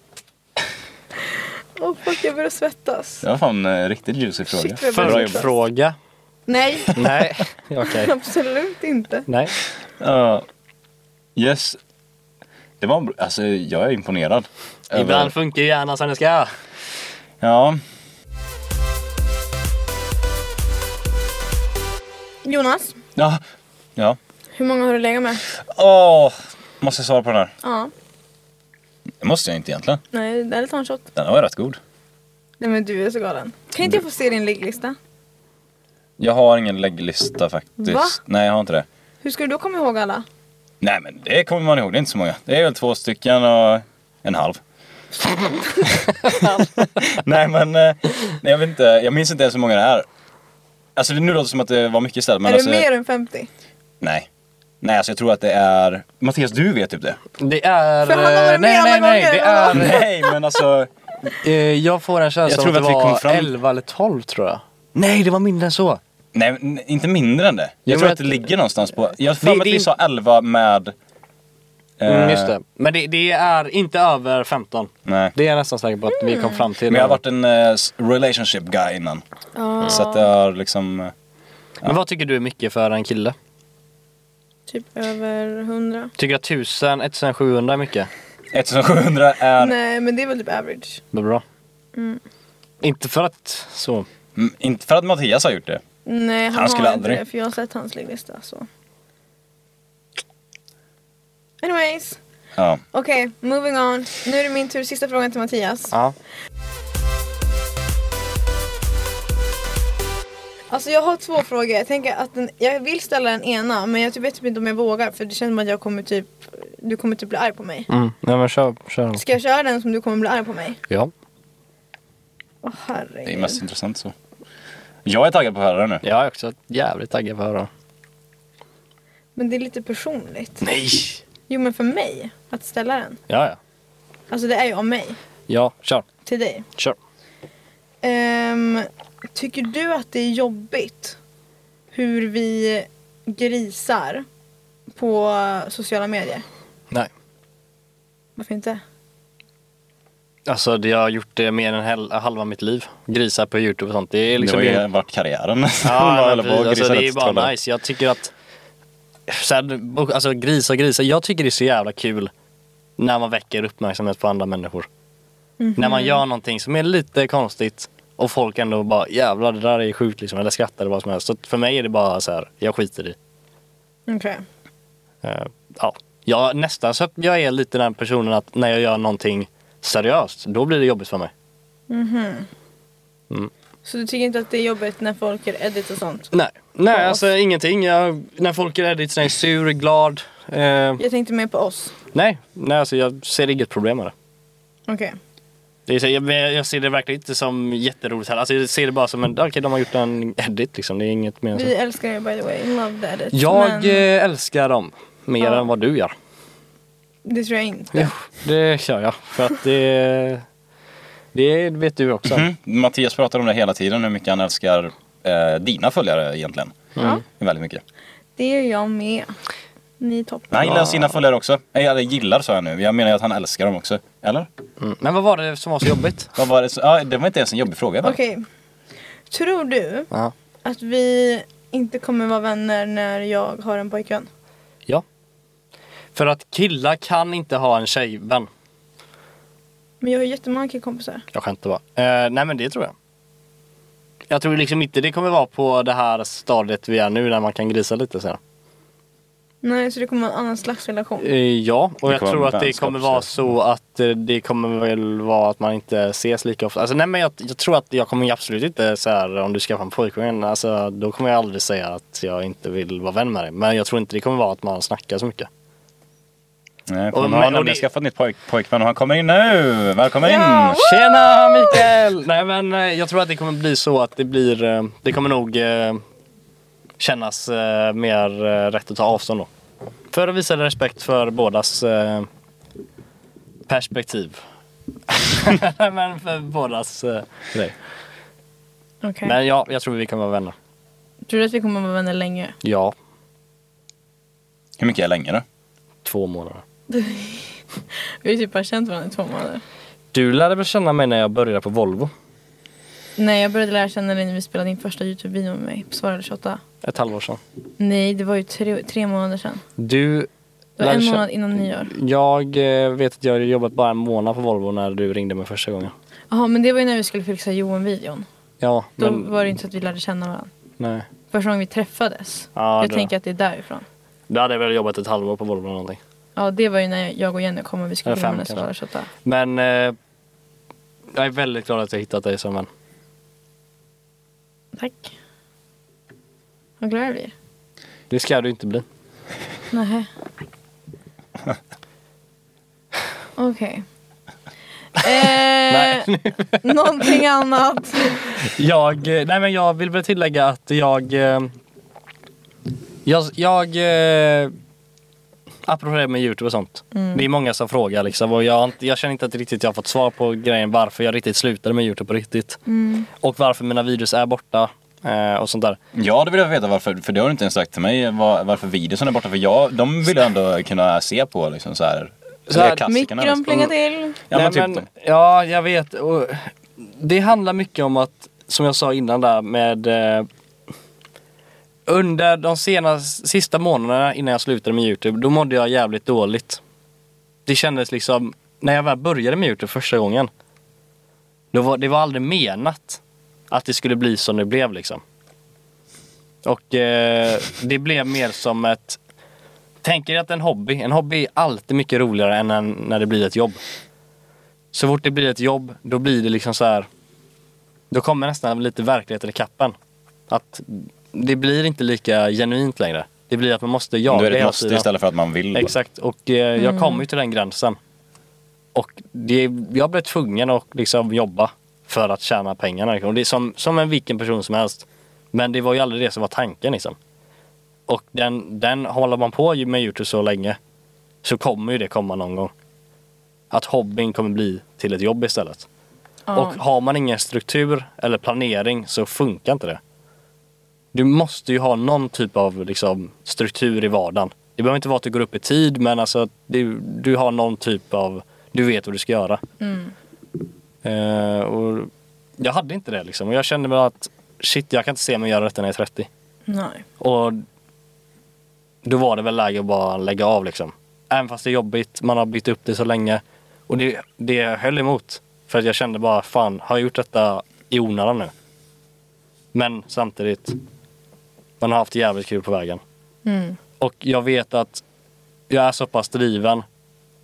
Speaker 2: Åh fuck, jag börjar svettas.
Speaker 4: Det var fan en riktigt juicy fråga.
Speaker 2: Shit, vad jag börjar
Speaker 4: Bra
Speaker 2: svettas.
Speaker 4: jobbat.
Speaker 3: Fråga.
Speaker 2: Nej,
Speaker 3: Nej, okej.
Speaker 2: absolut inte.
Speaker 3: Nej.
Speaker 4: Ja. yes. Det var en br- Alltså, jag är imponerad. Över-
Speaker 3: Ibland funkar ju hjärnan som den ska.
Speaker 4: Ja.
Speaker 2: Jonas,
Speaker 4: Ja. Ja.
Speaker 2: hur många har du legat med?
Speaker 4: Åh, måste jag svara på den här?
Speaker 2: Ja,
Speaker 4: Det måste jag inte egentligen.
Speaker 2: nej, eller ta en shot.
Speaker 4: Den var rätt god.
Speaker 2: Nej men du är så galen. Kan inte jag få se din ligglista?
Speaker 4: Jag har ingen lägglista faktiskt.
Speaker 2: Va?
Speaker 4: Nej, jag har inte det.
Speaker 2: Hur ska du då komma ihåg alla?
Speaker 4: Nej, men det kommer man ihåg. Det är inte så många. Det är väl två stycken och en halv. nej, men eh, nej, jag vet inte. Jag minns inte ens hur många det är. Alltså nu låter det som att det var mycket istället. Men
Speaker 2: är
Speaker 4: alltså,
Speaker 2: det mer än 50?
Speaker 4: Nej. Nej, alltså jag tror att det är... Mattias, du vet typ det.
Speaker 3: Det är...
Speaker 2: För han har varit med
Speaker 3: nej,
Speaker 2: alla
Speaker 3: nej, nej.
Speaker 2: gånger.
Speaker 3: Det är...
Speaker 4: nej, men alltså...
Speaker 3: Eh, jag får en känsla
Speaker 4: Jag
Speaker 3: av
Speaker 4: tror
Speaker 3: att det
Speaker 4: att vi kom
Speaker 3: var
Speaker 4: fram-
Speaker 3: 11 eller 12 tror jag. Nej, det var mindre än så.
Speaker 4: Nej, n- inte mindre än det. Jag
Speaker 3: Jo,
Speaker 4: tror
Speaker 3: men
Speaker 4: att det
Speaker 3: att-
Speaker 4: ligger någonstans på... Jag har
Speaker 3: Det-
Speaker 4: för mig att
Speaker 3: det-
Speaker 4: vi sa 11 med... eh,
Speaker 3: Mm, just det. Men det, det är inte över 15.
Speaker 4: Nej.
Speaker 3: Det är jag nästan säker på att vi kom fram till.
Speaker 4: Men jag har varit en eh, s- relationship guy innan. Så att jag har liksom... eh,
Speaker 3: Men vad tycker du är mycket för en kille?
Speaker 2: Typ över 100.
Speaker 3: Tycker jag 1000, 1700 är mycket?
Speaker 4: 1700 är...
Speaker 2: Nej men det är väl typ average.
Speaker 3: Det är bra. Inte för att så.
Speaker 4: Mm, Inte för att Mattias har gjort det.
Speaker 2: Nej han,
Speaker 4: Han skulle
Speaker 2: har
Speaker 4: aldrig.
Speaker 2: inte det för jag har sett hans ligglista så. Anyways.
Speaker 4: Ja.
Speaker 2: Okej, moving on. Nu är det min tur. Sista frågan till Mattias.
Speaker 3: Ja.
Speaker 2: Alltså jag har två frågor. Jag tänker att den, jag vill ställa den ena men jag typ vet typ inte om jag vågar för det känns som att jag kommer typ, du kommer typ bli arg på mig.
Speaker 3: Mm. Nej men kör, kör.
Speaker 2: Ska jag köra den som du kommer bli arg på mig?
Speaker 3: Ja.
Speaker 2: Åh
Speaker 4: Det är
Speaker 2: herregud.
Speaker 4: mest intressant så. Jag är taggad på att höra det nu.
Speaker 3: Jag är också jävligt taggad på att höra.
Speaker 2: Men det är lite personligt.
Speaker 3: Nej!
Speaker 2: Jo men för mig, att ställa den.
Speaker 3: Ja, ja.
Speaker 2: Alltså det är ju av mig,
Speaker 3: Ja, kör.
Speaker 2: till dig.
Speaker 3: Kör.
Speaker 2: Ehm, tycker du att det är jobbigt hur vi grisar på sociala medier?
Speaker 3: Nej.
Speaker 2: Varför inte?
Speaker 3: Alltså det, jag har gjort det mer än hel- halva mitt liv. Grisar på YouTube och sånt. Det är liksom...
Speaker 4: det har ju varit karriären.
Speaker 3: Ja,
Speaker 4: Jag
Speaker 3: men
Speaker 4: håller på och
Speaker 3: precis. alltså, det är
Speaker 4: grisar lite
Speaker 3: bara
Speaker 4: trollare.
Speaker 3: nice. Jag tycker att... Sen, alltså grisa grisa. Jag tycker det är så jävla kul när man väcker uppmärksamhet på andra människor. När man gör någonting som är lite konstigt och folk ändå bara jävlar det där är sjukt liksom eller skrattar eller vad som helst. Så för mig är det bara så här, jag skiter i.
Speaker 2: Okej.
Speaker 3: Eh, ja. Jag, nästan så att jag är lite den personen att när jag gör någonting seriöst då blir det jobbigt för mig.
Speaker 2: Så du tycker inte att det är jobbigt när folk gör edit och sånt?
Speaker 3: Nej, nej alltså ingenting. Jag, när folk är edit så är jag sur, glad. Eh,
Speaker 2: Jag tänkte mer på oss.
Speaker 3: Nej, nej alltså jag ser inget problem med det.
Speaker 2: Okej.
Speaker 3: det är, så- jag, men jag ser det verkligen inte som jätteroligt heller. Alltså jag ser det bara som en, okej de har gjort en edit liksom. Det är inget mer än så.
Speaker 2: Vi älskar er by the way, love the edit.
Speaker 3: Jag
Speaker 2: Men
Speaker 3: eh, älskar dem mer än vad du gör.
Speaker 2: det tror jag inte.
Speaker 3: Ja, det kör jag. För att det, det vet du också.
Speaker 4: Mm. Mattias pratar om det hela tiden, hur mycket han älskar eh, dina följare egentligen.
Speaker 2: Mm.
Speaker 4: Mm.
Speaker 2: Ja.
Speaker 4: Väldigt mycket.
Speaker 2: Det är jag med. Ni är toppen.
Speaker 4: Han gillar sina följare också. Nej, Eller gillar sa jag nu. Jag menar ju att han älskar dem också. Eller?
Speaker 3: Mm. Men vad var det som var så jobbigt?
Speaker 4: Vad var det, så, ja, det var inte ens en jobbig fråga. va?
Speaker 2: Okej. Tror du
Speaker 3: Ja.
Speaker 2: att vi inte kommer vara vänner när jag har en pojkvän?
Speaker 3: ja. För att killar kan inte ha en tjejvän.
Speaker 2: Men jag har ju jättemånga killkompisar.
Speaker 3: Jag skämtar bara. Eh, nej men det tror jag. Jag tror liksom inte det kommer vara på det här stadiet vi är nu när man kan grisa lite sen.
Speaker 2: Nej, så det kommer vara en annan slags relation.
Speaker 3: Eh, Ja, och
Speaker 4: Det
Speaker 3: jag
Speaker 4: kommer
Speaker 3: tror
Speaker 4: vara
Speaker 3: att det
Speaker 4: vänskap,
Speaker 3: kommer vara
Speaker 4: så.
Speaker 3: så att eh, det kommer väl vara att man inte ses lika ofta. Alltså, nej, men jag, jag tror att jag kommer ju absolut inte så här om du skaffar en pojkvän, alltså, då kommer jag aldrig säga att jag inte vill vara vän med dig. Men jag tror inte det kommer vara att man snackar så mycket.
Speaker 4: Nej,
Speaker 3: Och
Speaker 4: och, han
Speaker 3: men-
Speaker 4: har
Speaker 3: och
Speaker 4: nämligen
Speaker 3: det-
Speaker 4: skaffat nytt pojk, pojkvän och han kommer in nu! Välkommen in!
Speaker 3: Tjena Mikael! Nej men eh, jag tror att det kommer bli så att det blir, eh, det kommer nog eh, kännas eh, mer eh, rätt att ta avstånd då. För att visa respekt för bådas eh, perspektiv. men för bådas eh, grej.
Speaker 2: Okej.
Speaker 3: Men ja, jag tror vi kan vara vänner.
Speaker 2: Tror du att vi kommer vara vänner länge?
Speaker 3: Ja,
Speaker 4: Hur mycket är länge då?
Speaker 3: två månader.
Speaker 2: Vi har ju typ bara känt varandra i två månader.
Speaker 3: Du lärde väl känna mig när jag började på Volvo?
Speaker 2: Nej, jag började lära känna dig när vi spelade in första Youtube-videon med mig på Svarade 28.
Speaker 3: Ett halvår sedan.
Speaker 2: Nej, det var ju tre, tre månader sedan.
Speaker 3: Du
Speaker 2: Det var
Speaker 3: lärde
Speaker 2: en
Speaker 3: kä-
Speaker 2: månad innan nyår.
Speaker 3: Jag eh, vet att jag hade jobbat bara en månad på Volvo när du ringde mig första gången.
Speaker 2: Jaha, men det var ju när vi skulle fixa Johan-videon.
Speaker 3: Ja,
Speaker 2: Då
Speaker 3: men
Speaker 2: var det inte så att vi lärde känna varandra.
Speaker 3: nej.
Speaker 2: Första gången vi träffades.
Speaker 3: Ja,
Speaker 2: jag
Speaker 3: det-
Speaker 2: tänker att det är därifrån.
Speaker 3: Då hade jag väl jobbat ett halvår på Volvo eller någonting.
Speaker 2: Ja, det var ju när jag och Jenny kom och vi skulle
Speaker 3: Eller fem
Speaker 2: filma när Svarade
Speaker 3: kanske.
Speaker 2: 28.
Speaker 3: Men eh, jag är väldigt glad att jag hittat dig som vän.
Speaker 2: Tack. Vad glad jag blir.
Speaker 3: Det ska du inte bli.
Speaker 2: Nähä. Okej. Eh, någonting annat.
Speaker 3: Jag, eh, nej men jag vill väl tillägga att jag... Eh, jag, jag eh, apropå det med Youtube och sånt.
Speaker 2: Mm.
Speaker 3: Det är många som frågar liksom och jag, har inte- jag känner inte att riktigt jag har fått svar på grejen varför jag riktigt slutade med Youtube på riktigt.
Speaker 2: Mm.
Speaker 3: Och varför mina videos är borta eh, och sånt där.
Speaker 4: Ja, det vill jag veta varför, för det har du inte ens sagt till mig var, varför videosen är borta. För jag, de vill jag ändå kunna se på liksom så här.
Speaker 3: Så här,
Speaker 4: klassikerna,
Speaker 2: Mikron
Speaker 4: liksom.
Speaker 2: plingar till.
Speaker 4: Ja,
Speaker 3: Nej,
Speaker 4: men typ
Speaker 3: men-
Speaker 4: dem.
Speaker 3: ja, jag vet. Och det handlar mycket om att, som jag sa innan där med eh, under de senaste, sista månaderna innan jag slutade med Youtube, då mådde jag jävligt dåligt. Det kändes liksom, när jag väl började med Youtube första gången, då var, det var aldrig menat att det skulle bli som det blev liksom. Och eh, det blev mer som ett, tänk er att en hobby, en hobby är alltid mycket roligare än en, när det blir ett jobb. Så fort det blir ett jobb, då blir det liksom så här. Då kommer nästan lite verkligheten i kappen. Att det blir inte lika genuint längre. Det blir att man måste jaga
Speaker 4: Då är det ett
Speaker 3: hela
Speaker 4: måste
Speaker 3: tiden.
Speaker 4: istället för att man vill.
Speaker 3: Exakt, och eh, jag kom ju till den gränsen. Och det, jag blev tvungen att liksom jobba för att tjäna pengarna. Liksom. Det är som, som en vilken person som helst. Men det var ju aldrig det som var tanken. Liksom. Och den, den håller man på ju med Youtube så länge så kommer ju det komma någon gång. Att hobbyn kommer bli till ett jobb istället. Och har man ingen struktur eller planering så funkar inte det. Du måste ju ha någon typ av liksom, struktur i vardagen. Det behöver inte vara att du går upp i tid men alltså att du, du har någon typ av, du vet vad du ska göra. Eh, och jag hade inte det liksom och jag kände väl att shit jag kan inte se mig göra detta när jag är 30.
Speaker 2: Nej.
Speaker 3: Och då var det väl läge att bara lägga av liksom. Även fast det är jobbigt, man har byggt upp det så länge. Och det, det höll emot. För att jag kände bara, fan, har jag gjort detta i onödan nu? Men samtidigt, man har haft jävligt kul på vägen.
Speaker 2: Mm.
Speaker 3: Och jag vet att jag är så pass driven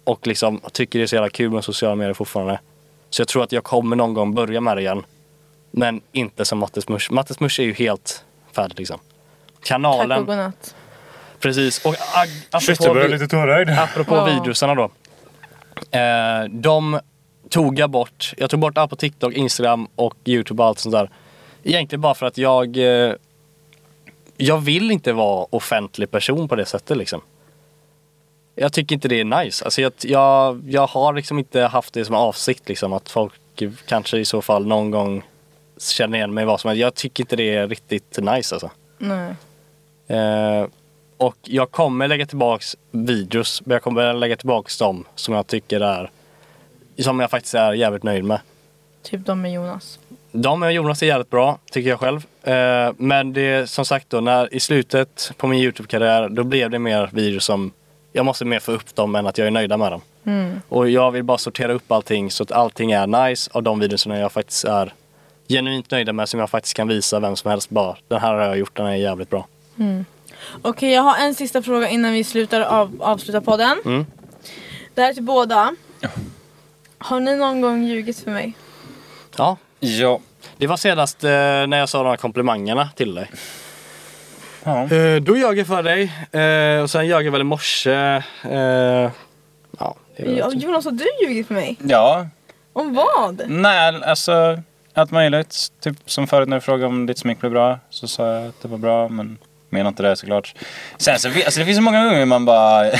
Speaker 3: och liksom tycker det är så jävla kul med sociala medier fortfarande. Så jag tror att jag kommer någon gång börja med det igen. Men inte som Mattes Musch. Mattes Musch är ju helt färdig liksom. Kanalen.
Speaker 2: Tack och godnatt.
Speaker 3: Precis, och ag- apropå, vi-
Speaker 4: tårögd.
Speaker 3: apropå
Speaker 2: Ja.
Speaker 3: videosarna då. Eh, de tog jag bort. Jag tog bort allt på TikTok, Instagram och YouTube och allt sånt där. Egentligen bara för att jag eh, jag vill inte vara offentlig person på det sättet liksom. Jag tycker inte det är nice. Alltså jag, jag, jag har liksom inte haft det som avsikt liksom att folk kanske i så fall någon gång känner igen mig vad som helst. Jag tycker inte det är riktigt nice alltså.
Speaker 2: Nej.
Speaker 3: Eh, och jag kommer lägga tillbaks videos, men jag kommer lägga tillbaks dem som jag tycker är, som jag faktiskt är jävligt nöjd med.
Speaker 2: Typ de med Jonas.
Speaker 3: De och Jonas är jävligt bra, tycker jag själv. Eh, men det är som sagt då, när, i slutet på min YouTube-karriär, då blev det mer videos som, jag måste mer få upp dem än att jag är nöjda med dem. Och jag vill bara sortera upp allting så att allting är nice av de videorna jag faktiskt är genuint nöjda med, som jag faktiskt kan visa vem som helst bara, den här har jag gjort, den här är jävligt bra.
Speaker 2: Okej jag har en sista fråga innan vi slutar av, avsluta podden. Det här är till båda. Har ni någon gång ljugit för mig?
Speaker 3: Ja,
Speaker 4: Ja.
Speaker 3: det var senast eh, när jag sa de här komplimangerna till dig.
Speaker 4: Ja.
Speaker 3: Eh, då ljög jag för dig eh, och sen ljög jag väl i morse. Eh, ja, det är väl
Speaker 2: Ja,
Speaker 3: typ-
Speaker 2: Jonas har du ljugit för mig?
Speaker 4: ja.
Speaker 2: Om vad?
Speaker 4: Nej, alltså allt möjligt. Typ som förut när du frågade om ditt smink blev bra så sa jag att det var bra men menar inte det såklart. Sen så, alltså det finns så många gånger man bara...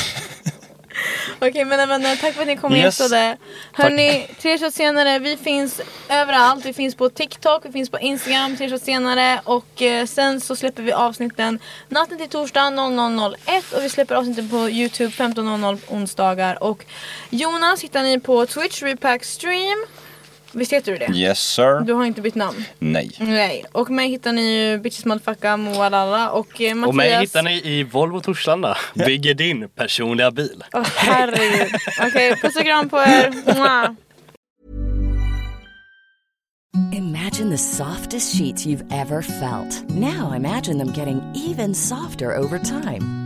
Speaker 2: Okej mina vänner, tack för att ni kom
Speaker 4: Yes.
Speaker 2: och gästade. Hörni, tre shots senare, vi finns överallt. Vi finns på TikTok, vi finns på Instagram, tre shots senare. Och eh, sen så släpper vi avsnitten natten till torsdag 00.01 och vi släpper avsnitten på Youtube 15.00 onsdagar. Och Jonas hittar ni på Twitch, Repack Stream. Visst heter du det?
Speaker 4: Yes sir.
Speaker 2: Du har inte bytt namn?
Speaker 4: Nej.
Speaker 2: Nej. Och mig hittar ni ju Bitches Motherfucka Moalala och eh, Mattias.
Speaker 3: Och mig hittar ni i Volvo Torslanda. Bygger din personliga bil.
Speaker 2: Åh, herregud. Okej, puss och kram på er. Mwah.
Speaker 7: Imagine the softest sheets you've ever felt. Now imagine them getting even softer over time.